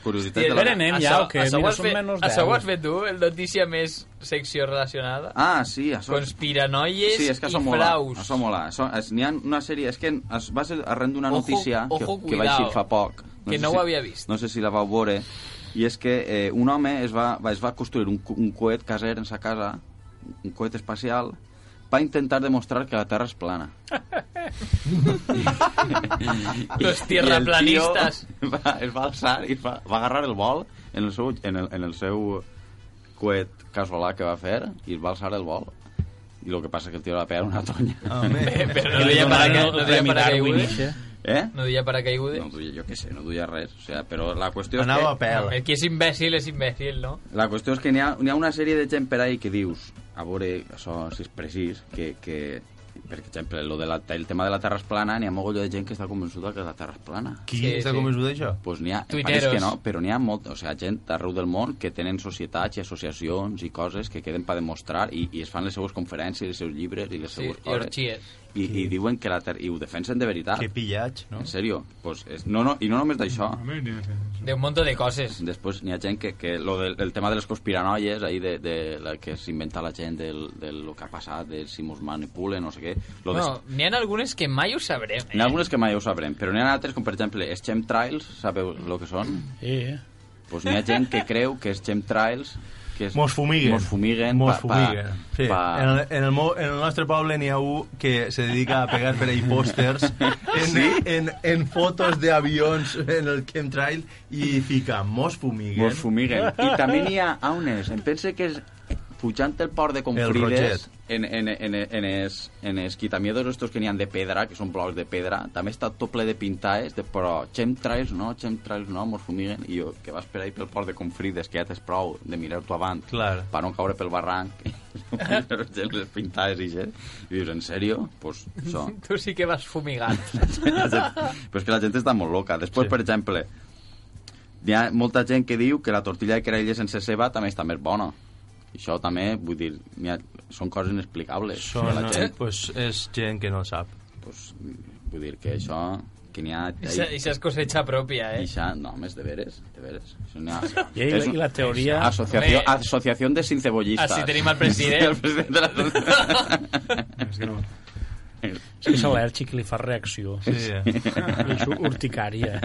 F: curiositat
G: Hòstia,
F: de la...
G: ja
E: eh,
G: anem ja, o què?
E: Això
G: Mira,
E: ho has
G: són
E: fet,
G: menys
E: això ho
G: deu.
E: has fet tu, el notícia més secció relacionada?
F: Ah, sí, això...
E: Conspiranoies
F: sí, és que
E: i
F: això mola,
E: fraus.
F: Això mola. Això, és, n'hi ha una sèrie... És que es va ser arran d'una
E: Ojo-
F: notícia
E: ojo,
F: que, que va
E: cuidao,
F: eixir fa poc.
E: que no
F: si,
E: ho havia vist.
F: No sé si la vau veure. I és que eh, un home es va, va, es va construir un, co- un coet caser en sa casa, un coet espacial, va intentar demostrar que la Terra és
E: (laughs)
F: plana.
E: Los
F: I el
E: tierraplanistas.
F: tio (laughs) Va, es va alçar i va, va agarrar el vol en el seu, en el, en el seu coet casolà que va fer i es va alçar el vol. I el que passa és que el tio va pegar una tonya.
H: Ah.
E: Bé, però no duia para que, no duia para
F: Eh?
E: No duia para caigudes.
F: No duia, jo què sé, no duia res. O sea, però la qüestió
E: Anava
F: és que...
E: No, el que és imbècil és imbècil, no?
F: La qüestió és que n'hi ha, n'hi ha una sèrie de gent per ahí que dius, a veure això, si és precís, que, que per exemple, lo de la, el tema de la Terra és plana, n'hi ha mogolló de gent que està convençuda que la Terra és plana.
H: Qui Sí, està sí. convençut d'això?
F: Pues n'hi ha, em
H: Tuiteros.
F: pareix que no, però n'hi ha molt, o sea, gent arreu del món que tenen societats i associacions i coses que queden per demostrar i, i es fan les seues conferències, els seus llibres i les
E: Sí,
F: seues
E: i
F: coses.
E: orgies.
F: I, I diuen que la Terra... I ho defensen de
E: Ah.
F: veritat.
H: Que pillatge, no?
F: En sèrio. Pues és, no, no, I no només d'això.
E: De un montón de coses.
F: Després n'hi ha gent que, que lo del, el tema de les conspiranoies, ahí de, de la que s'inventa la gent del, del lo que ha passat, de si mos manipulen, no sé què. Lo de...
E: Bueno, n'hi ha algunes que mai ho sabrem. eh?
F: N'hi ha algunes que mai ho sabrem, però n'hi ha altres, com per exemple, els chemtrails, sabeu el que són?
G: Sí.
F: Pues n'hi ha gent que creu que els chemtrails... Que és,
H: Mos fumiguen.
F: Mos fumiguen.
H: Mos
F: pa- pa-
H: fumiguen. Sí.
F: pa-
H: En, el, en, el, mo- en el nostre poble n'hi ha un que se dedica a pegar per ahí pòsters
F: (laughs)
H: en,
F: Sí?
H: en, en fotos d'avions en el chemtrail i fica mos fumiguen.
F: Mos
H: (laughs)
F: fumiguen. I també n'hi ha aunes. Em pense que és pujant el port de Confrides
H: Roget.
F: en, en, en, en, es, en es quitamiedos estos que n'hi ha de pedra, que són blocs de pedra, també està tot ple de pintaes, de, però chemtrails no, chemtrails no, mos fumiguen, i jo, que vas per ahí pel port de Confrides, que ja t'és prou de mirar-t'ho avant,
H: Clar.
F: per no caure pel barranc, (laughs) les pintaes i gent, i dius, en sèrio?
H: (laughs)
F: Pues, això.
E: Tu sí que vas fumigat.
F: Però és que la gent està molt loca. Després, sí. per exemple, hi ha molta gent que diu que la tortilla de querelles sense ceba també està més bona. I això també, vull dir, n'hi ha, són coses inexplicables.
H: Són,
G: eh?
F: Que la gent,
H: pues, és gent que no sap.
F: Pues, vull dir que això... Que n'hi ha...
E: Ixa, ixa és cosecha pròpia, eh?
F: Ixa, no, més de veres, de veres. Això n'hi ha-
G: I ahí
F: és
G: la-
F: un-
G: i la teoria-
F: Asociació,
G: Home.
F: asociació de sincebollistes.
E: Així Ah, tenim el president.
F: (laughs) el president de la...
I: És que no.
G: És que és al·lèrgic i li fa reacció.
F: Sí.
H: eh.
G: eh. I Ah, és urticària.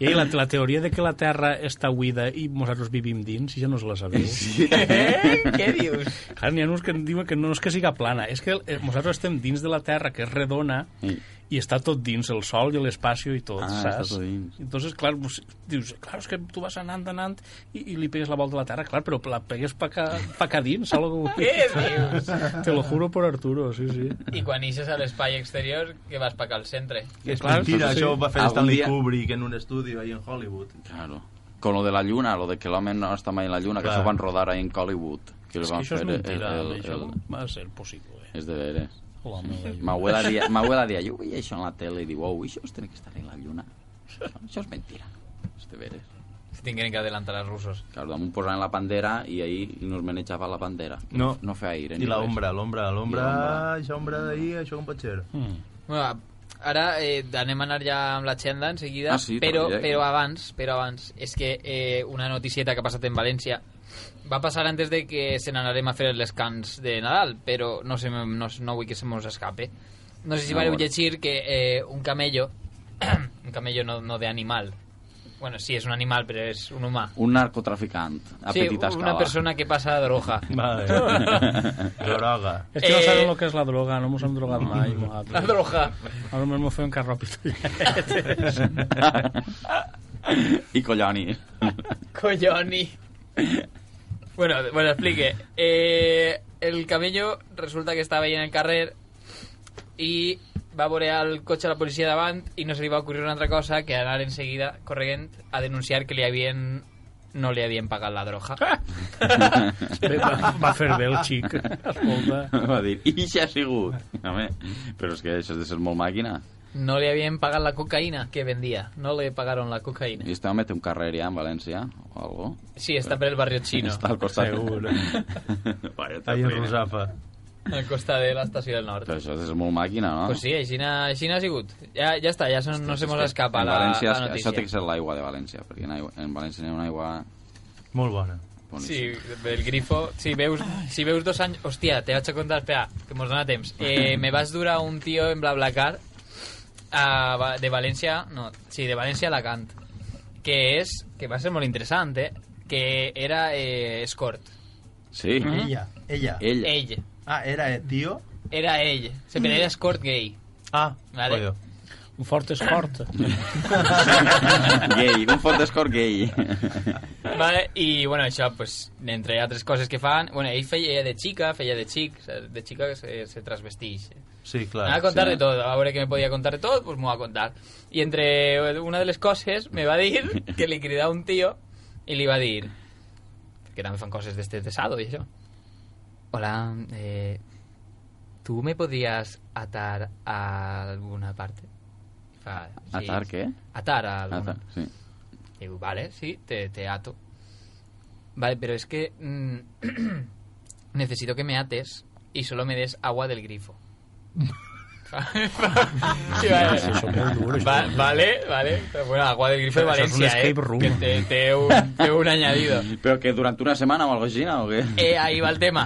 G: I la, la teoria de que la Terra està buida i nosaltres vivim dins, ja no us la sabeu.
F: Sí.
E: Eh? Què dius?
G: Clar, n'hi ha uns que en diuen que no és que siga plana, és que eh, nosaltres estem dins de la Terra, que és redona,
F: Sí.
E: (laughs)
G: i està tot dins, el sol i l'espacio i tot,
F: Ah,
G: saps?
F: està tot dins.
G: Entonces, clar, vos- dius, clar, és que tu vas anant, anant, i, i li pegues la volta a la Terra, clar, però la pegues pa ca, pa ca dins, saps? el que
E: Què
G: vull dir?
E: dius?
G: Te lo juro por Arturo, sí, sí.
E: I quan ixes a l'espai exterior, que vas pa al centre.
H: És mentira,
F: sí.
H: això ho va fer
F: Algun
H: Stanley
F: dia-
H: Kubrick en un estudi ahí en Hollywood.
F: Claro. Con lo de la lluna, lo de que l'home no està mai en la lluna, que
H: Clar.
F: això ho van rodar ahí en Hollywood. Que li
G: És que
F: van
G: això és
F: fer
G: mentira, això va ser possible. eh?
F: És de veres.
G: L'home de la lluna.
F: M'abuela
G: (laughs)
F: dia, m'abuela dia, jo veia això en la tele i diu, oh, això es tiene que estar en la lluna. Això, això és mentira. És de veres.
E: Se tinguin que adelantar els russos.
F: Claro, vam posar en la bandera i ahí nos manejava la bandera.
H: No.
F: No feia aire.
H: I la ombra, l'ombra, l'ombra,
F: l'ombra. Mm.
H: això ombra d'ahir, això com pot ser?
E: Bueno, ara eh, anem a anar ja amb l'agenda en seguida,
F: Ah, sí,
E: però,
F: també, ja.
E: però abans, però abans, és que eh, una noticieta que ha passat en València va passar antes de que se n'anarem a fer els cants de Nadal, però no, se, me- no, no vull que se mos escape. No sé si
F: Ah,
E: vareu
F: bueno.
E: llegir que eh, un camello, (clears throat) un camello no, no de animal, bueno, sí, és un animal, però és un humà.
F: Un narcotraficant a
E: sí,
F: petita escala.
E: una persona que passa de
F: (laughs)
E: droga.
H: Droga.
G: És que no
E: Eh,
G: saben el que és la droga, no mos hem drogat mai.
E: La
G: nosaltres.
E: droga.
G: Ara només m'ho feien (laughs) carropitolladetes.
F: (laughs) I colloni.
E: Colloni. Bueno, bueno, explique. Eh, el camello resulta que estava ahí en el carrer i va veure el cotxe de la policia davant i no se li va ocorrir una altra cosa que anar enseguida corregent a denunciar que li havien no li havien pagat la droga.
F: Ah.
G: Bé, va, va fer bé el xic. Escolta.
F: (laughs) Va dir, i ja ha sigut. Home, però és que això has de ser molt màquina.
E: No li havien pagat la cocaïna que vendía. No le pagaron la cocaína.
F: I este home té un carrer ja en València o algo. (laughs)
E: Sí, està per el barrio chino.
F: Està al costat.
H: Segur.
F: Vaya,
H: Ahí en
F: feina.
H: Rusapa.
E: a costa de la estació del nord.
F: Però això és molt màquina, no?
E: Pues sí, aixina, aixina ha sigut. Ja, ja està, ja se, no se mos escapa
F: en
E: la,
F: València,
E: la notícia.
F: Això té que ser l'aigua de València, perquè en, aigua, en València hi ha una aigua...
H: Molt bona.
E: Sí, el grifo. Si veus, si veus dos anys... Hòstia, te vaig a contar, espera, que mos dona temps. Eh, me vas durar un tio en BlaBlaCar a, Va- de València... No, sí, de València a Alacant. Que és... Que va ser molt interessant, eh? Que era eh, escort.
F: Sí.
E: Mm-hmm.
F: (laughs)
N: Ella, ella.
E: Ell. Ell.
N: Ah, era el tío.
E: Era ell. Se mm. era escort gay.
N: Ah,
E: vale.
N: coño.
G: Un fort escort.
F: gay, un fort d'escort gay.
E: Vale, i bueno, això, pues, entre altres coses que fan... Bueno, ell feia de xica, feia de xic, saps? de xica se, eh. se transvestix.
H: Sí,
E: Me
H: clar.
N: Ah,
E: va a contar
H: sí.
E: de todo, a ver qué me podía contar de todo, pues me va a contar. Y entre una de las cosas me va a
F: (laughs)
E: decir que le quería un tío y le iba a decir que eran fan cosas de este tesado y eso. Hola, eh, ¿tú me podías atar a alguna parte? Y fa,
F: Atar què?
E: Atar a alguna.
F: Atar, sí.
E: Digo, Eh, vale, sí, te, te ato. Vale, pero es que mm, (clears throat) necesito que me ates y solo me des agua del grifo.
G: (laughs)
E: Sí, vale.
G: Sí, això és molt dur, això.
E: Va- vale, vale. Però, Bueno, agua del grifo de
G: Això és un
E: Valencia, eh,
G: escape room.
E: que te, te un, te un
G: (laughs)
E: añadido.
F: Però que durant una setmana o alguna cosa així, no? o què?
E: Eh, ahí va el tema.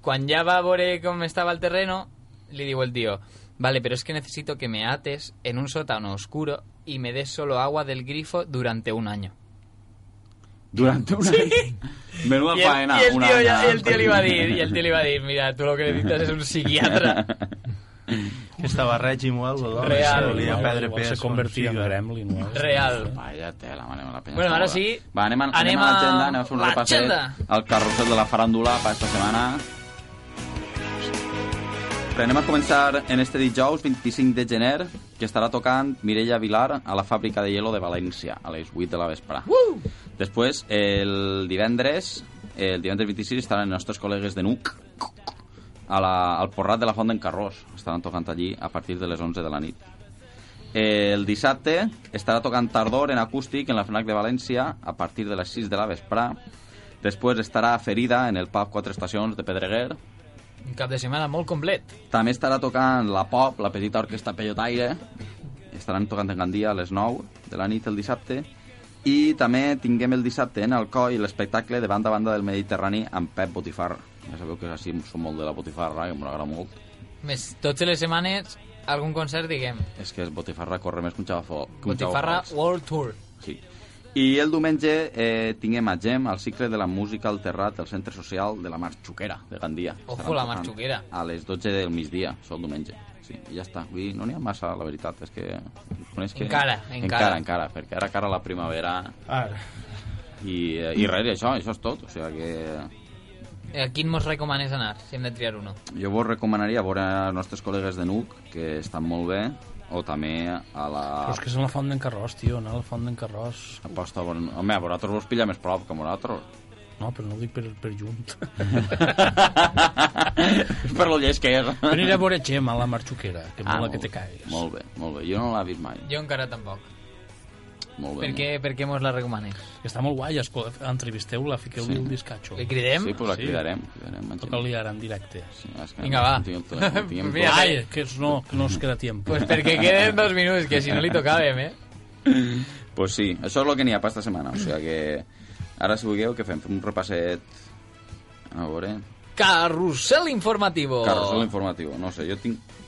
E: Cuando ya va Bore como estaba el terreno, le digo el tío, vale, pero es que necesito que me ates en un sótano oscuro y me des solo agua del grifo durante un año.
F: Durant un any. Menuda
E: Y el,
F: faena.
E: y el
F: un
E: tío,
F: any
E: ya-
F: a-
E: y el tío le iba a decir,
F: (laughs)
E: y el tío le iba a decir, mira, tú lo que necesitas es un psiquiatra.
H: Que estava règim o alguna cosa.
E: Real.
H: Volia
E: Igual-
H: perdre
E: igual
H: pes.
G: se convertia en gremlin. No?
E: Real.
F: Vaya tela, mare meva, la penya
E: Bueno,
F: està
E: ara
F: loca.
E: sí,
F: Va, anem a, anem
E: anem a
F: a l'agenda, anem a fer un repasset
E: l'agenda.
F: al carrusel de la faràndula per esta setmana. Però anem a començar en este dijous, 25 de gener, que estarà tocant Mireia Vilar a la fàbrica de hielo de València, a les 8 de la vespre.
E: Uh!
F: Després, el divendres, el divendres 26, estaran els nostres col·legues de NUC a la, al Porrat de la Font d'en Carròs. Estaran tocant allí a partir de les 11 de la nit. Eh, El dissabte estarà tocant Tardor en acústic en la FNAC de València a partir de les 6 de la vesprà. Després estarà Ferida en el pub Quatre Estacions de Pedreguer.
E: Un cap de setmana molt complet.
F: També estarà tocant la Pop, la petita orquestra Peyotaire. Estaran tocant en Gandia a les 9 de la nit el dissabte. I també tinguem el dissabte en Alcoi l'espectacle de banda a banda del Mediterrani amb Pep Botifar. Ja sabeu que així som molt de la Botifarra, que m'agrada molt.
E: Més, totes les setmanes algun concert, diguem.
F: És que és Botifarra corre més que un xavafó. que un
E: Botifarra
F: xavafó.
E: World Tour.
F: Sí. I el diumenge eh, tinguem a Gem al cicle de la música al terrat del centre social de la Marxuquera de Gandia.
E: Ojo,
F: Estaran
E: la
F: tocant
E: Marxuquera.
F: A les 12 del migdia, sol diumenge. Sí, i ja està. Avui no n'hi ha massa, la veritat. És que... Coneix que...
E: Encara,
F: Encara,
E: encara.
F: encara, perquè ara cara la primavera...
N: Ara.
F: I, eh, i res, i això, això és tot. O sigui que
E: Eh, A quin mos recomanes anar, si hem de triar uno?
F: jo vos recomanaria veure els nostres col·legues de NUC, que estan molt bé, o també a la...
G: Però és que és en la font d'en Carròs, tio, anar a la font d'en Carròs.
F: Aposta, bon... home, a vosaltres vos pilla més prop que a vosaltres.
G: No, però no ho dic per, per junt. (laughs)
F: (laughs) per lo llest que és.
G: Jo aniré a veure Gemma, la marxuquera, que ah, mola
F: molt
G: que te
F: bé,
G: caigues.
F: Molt bé, molt bé. Jo no l'he vist mai.
E: Jo encara tampoc.
F: Molt bé.
E: Per què, per què mos la recomanes?
G: Està molt guai, esco- entrevisteu-la, fiqueu-li
F: Sí.
G: el discatxo.
E: Li cridem?
F: Sí, pues la cridarem. cridarem Angeli.
G: Toca-li ara en directe.
F: Sí, és que
E: Vinga, va.
F: tinc el telèfon, tinc el
E: Mira,
F: telèfon.
G: Ai, que es- no, que no es queda tiempo.
E: Pues perquè queden dos minuts, que si no li tocàvem,
F: (laughs)
E: eh?
F: pues sí, això és el que n'hi ha per esta setmana. O sigui que ara, si vulgueu, que fem? Fem un repasset... A veure...
E: Carrusel informativo.
F: Carrusel informatiu, no sé, jo tinc...
E: Avui-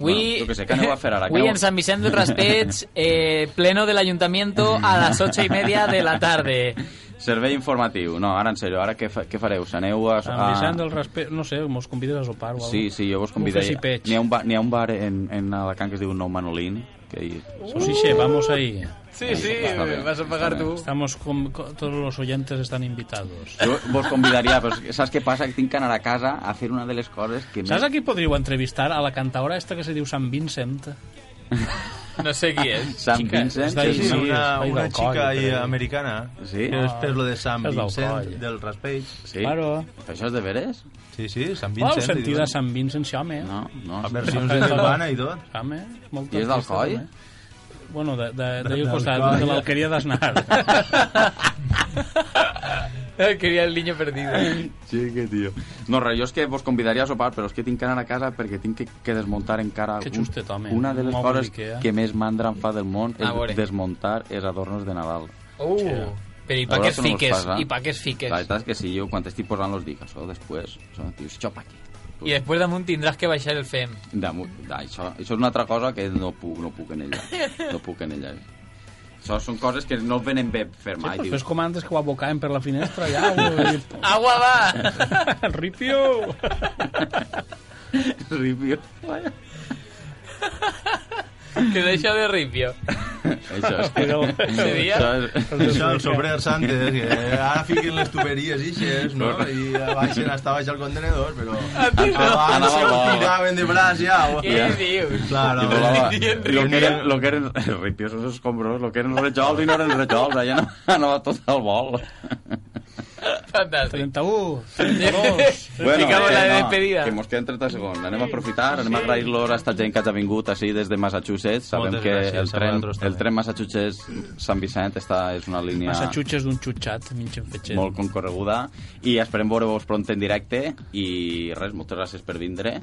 F: Bueno, jo què sé, què aneu a fer ara? Què
E: Avui
F: aneu-
E: en Sant Vicent del
F: (laughs)
E: Raspeig, eh, pleno del ayuntamiento a las ocho y media de la (laughs) tarde.
F: Servei informatiu. No, ara en sèrio, ara què, fa, què fareu? S'aneu a...
G: Sant Vicent del Raspe... No sé, mos convides a sopar o alguna
F: Sí, sí, jo vos convidaria.
G: Un feci
F: N'hi ha, un bar, n'hi ha un bar en, en Alacant que es diu Nou Manolín, que ahí...
G: Oh. Sosiche, vamos ahí.
E: Sí, sí,
F: Està bé,
E: vas a pagar tu.
G: Estamos con, con- todos los oyentes están invitados.
F: Jo vos convidaria, però és que saps què passa? Que tinc que anar a casa a fer una de les coses que...
G: Saps a qui podríeu entrevistar? A la cantaora esta que se diu Sant Vincent.
E: No sé qui és.
F: (laughs) Sant
G: Xica, és
F: Vincent...
G: d'ahir,
F: que
H: Sí,
F: és-
H: una,
G: Ai,
H: una
G: del coll,
H: xica
G: crec.
H: ahí americana.
F: Sí?
H: Que després lo de San
G: Ah, és del
H: Vincent,
G: coll.
H: del raspeig.
F: Sí?
G: Claro.
F: Però Això és de veres?
H: Sí, sí, San
G: Vau
H: Vincent. li
G: sentir de
H: diuen.
G: Sant Vincent, sí, home.
F: No, no.
H: Amb versions de Nirvana i tot.
G: Home, molt
F: I és del coll?
E: eh?
G: Bueno, de, de, de,
H: del
G: de, costat,
H: coll.
G: de l'alqueria d'Aznar.
E: Eh, Quería el niño perdido.
F: Sí, que tio. No, res, jo és que vos convidaria a sopar, però és que tinc que anar a casa perquè tinc que, que desmuntar encara...
G: Que
F: algun-
G: justet, home.
F: Una de les
G: Un mòbil
F: coses
G: d'Ikea.
F: que més mandra em fa del món
E: A veure.
F: és desmuntar els adornos de Nadal.
E: Uh, Però i
F: A
E: pa què
F: veure
E: es
F: si no us
E: fiques?
F: passa.
E: I pa què es
F: La
E: fiques?
F: veritat és que sí, jo quan estic posant los dic, això després, això, tio, això pa aquí.
E: I després damunt tindràs que baixar el E FEM.
F: Damunt, da, això, això és una altra cosa que no puc, no puc en ella. No puc en ella. Això són coses que no venen bé fer mai,
G: Pues
F: tio.
G: fes comandes que ho abocaven per la finestra ja.
F: (laughs)
G: Ho...
E: Agua va!
G: Ripio!
F: (laughs) Ripio.
E: Que deixa de ripio.
F: Això és que...
E: Seria?
H: Això, el sobre el Santes, que ara fiquen les tuberies ixes, no? I baixen hasta baix el contenedor, però... Abans se ho tiraven de braç ja. o- Claro.
F: Y volaba. Lo que eren, lo que eren (laughs) ripiosos escombros, lo que eren rejols i no eren rejols, allà no, (laughs) anava tot al vol.
E: Fantàstic.
G: 31,
F: (laughs)
G: 32...
E: Ficava la de
F: que eh, no,
E: despedida.
F: Que mos queden 30 segons. Anem a aprofitar, anem a agrair-los a esta gent que ha vingut així des de Massachusetts. Sabem
G: Moltes
F: que
G: gràcies,
F: el
G: a
F: tren,
G: vosaltres
F: el tren Massachusetts-Sant Vicent està, és una línia
G: Massachutxes d'un xutxat, minxen fetxet.
F: molt concorreguda i esperem veure-vos pront en directe i res, moltes gràcies per vindre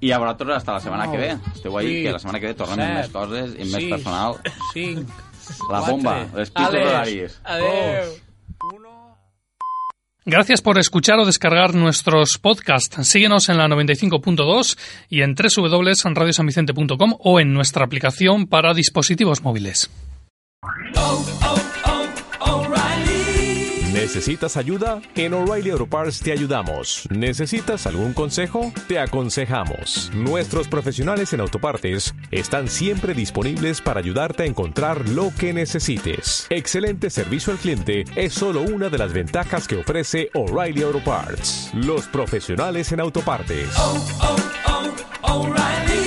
F: i a vosaltres hasta la setmana que ve
G: Oh,
F: esteu ahí, que la setmana que ve tornem amb més coses i amb més personal
G: 5,
F: La bomba, les pizzas
G: Ale.
F: horarios.
E: Adeu.
C: Gracias por escuchar o descargar nuestros podcasts. Síguenos en la 95.2 y en www.radiosanvicente.com o en nuestra aplicación para dispositivos móviles.
B: ¿Necesitas ayuda? En O'Reilly Auto Parts te ayudamos. ¿Necesitas algún consejo? Te aconsejamos. Nuestros profesionales en autopartes están siempre disponibles para ayudarte a encontrar lo que necesites. Excelente servicio al cliente es solo una de las ventajas que ofrece O'Reilly Auto Parts. Los profesionales en autopartes.
A: O'Reilly.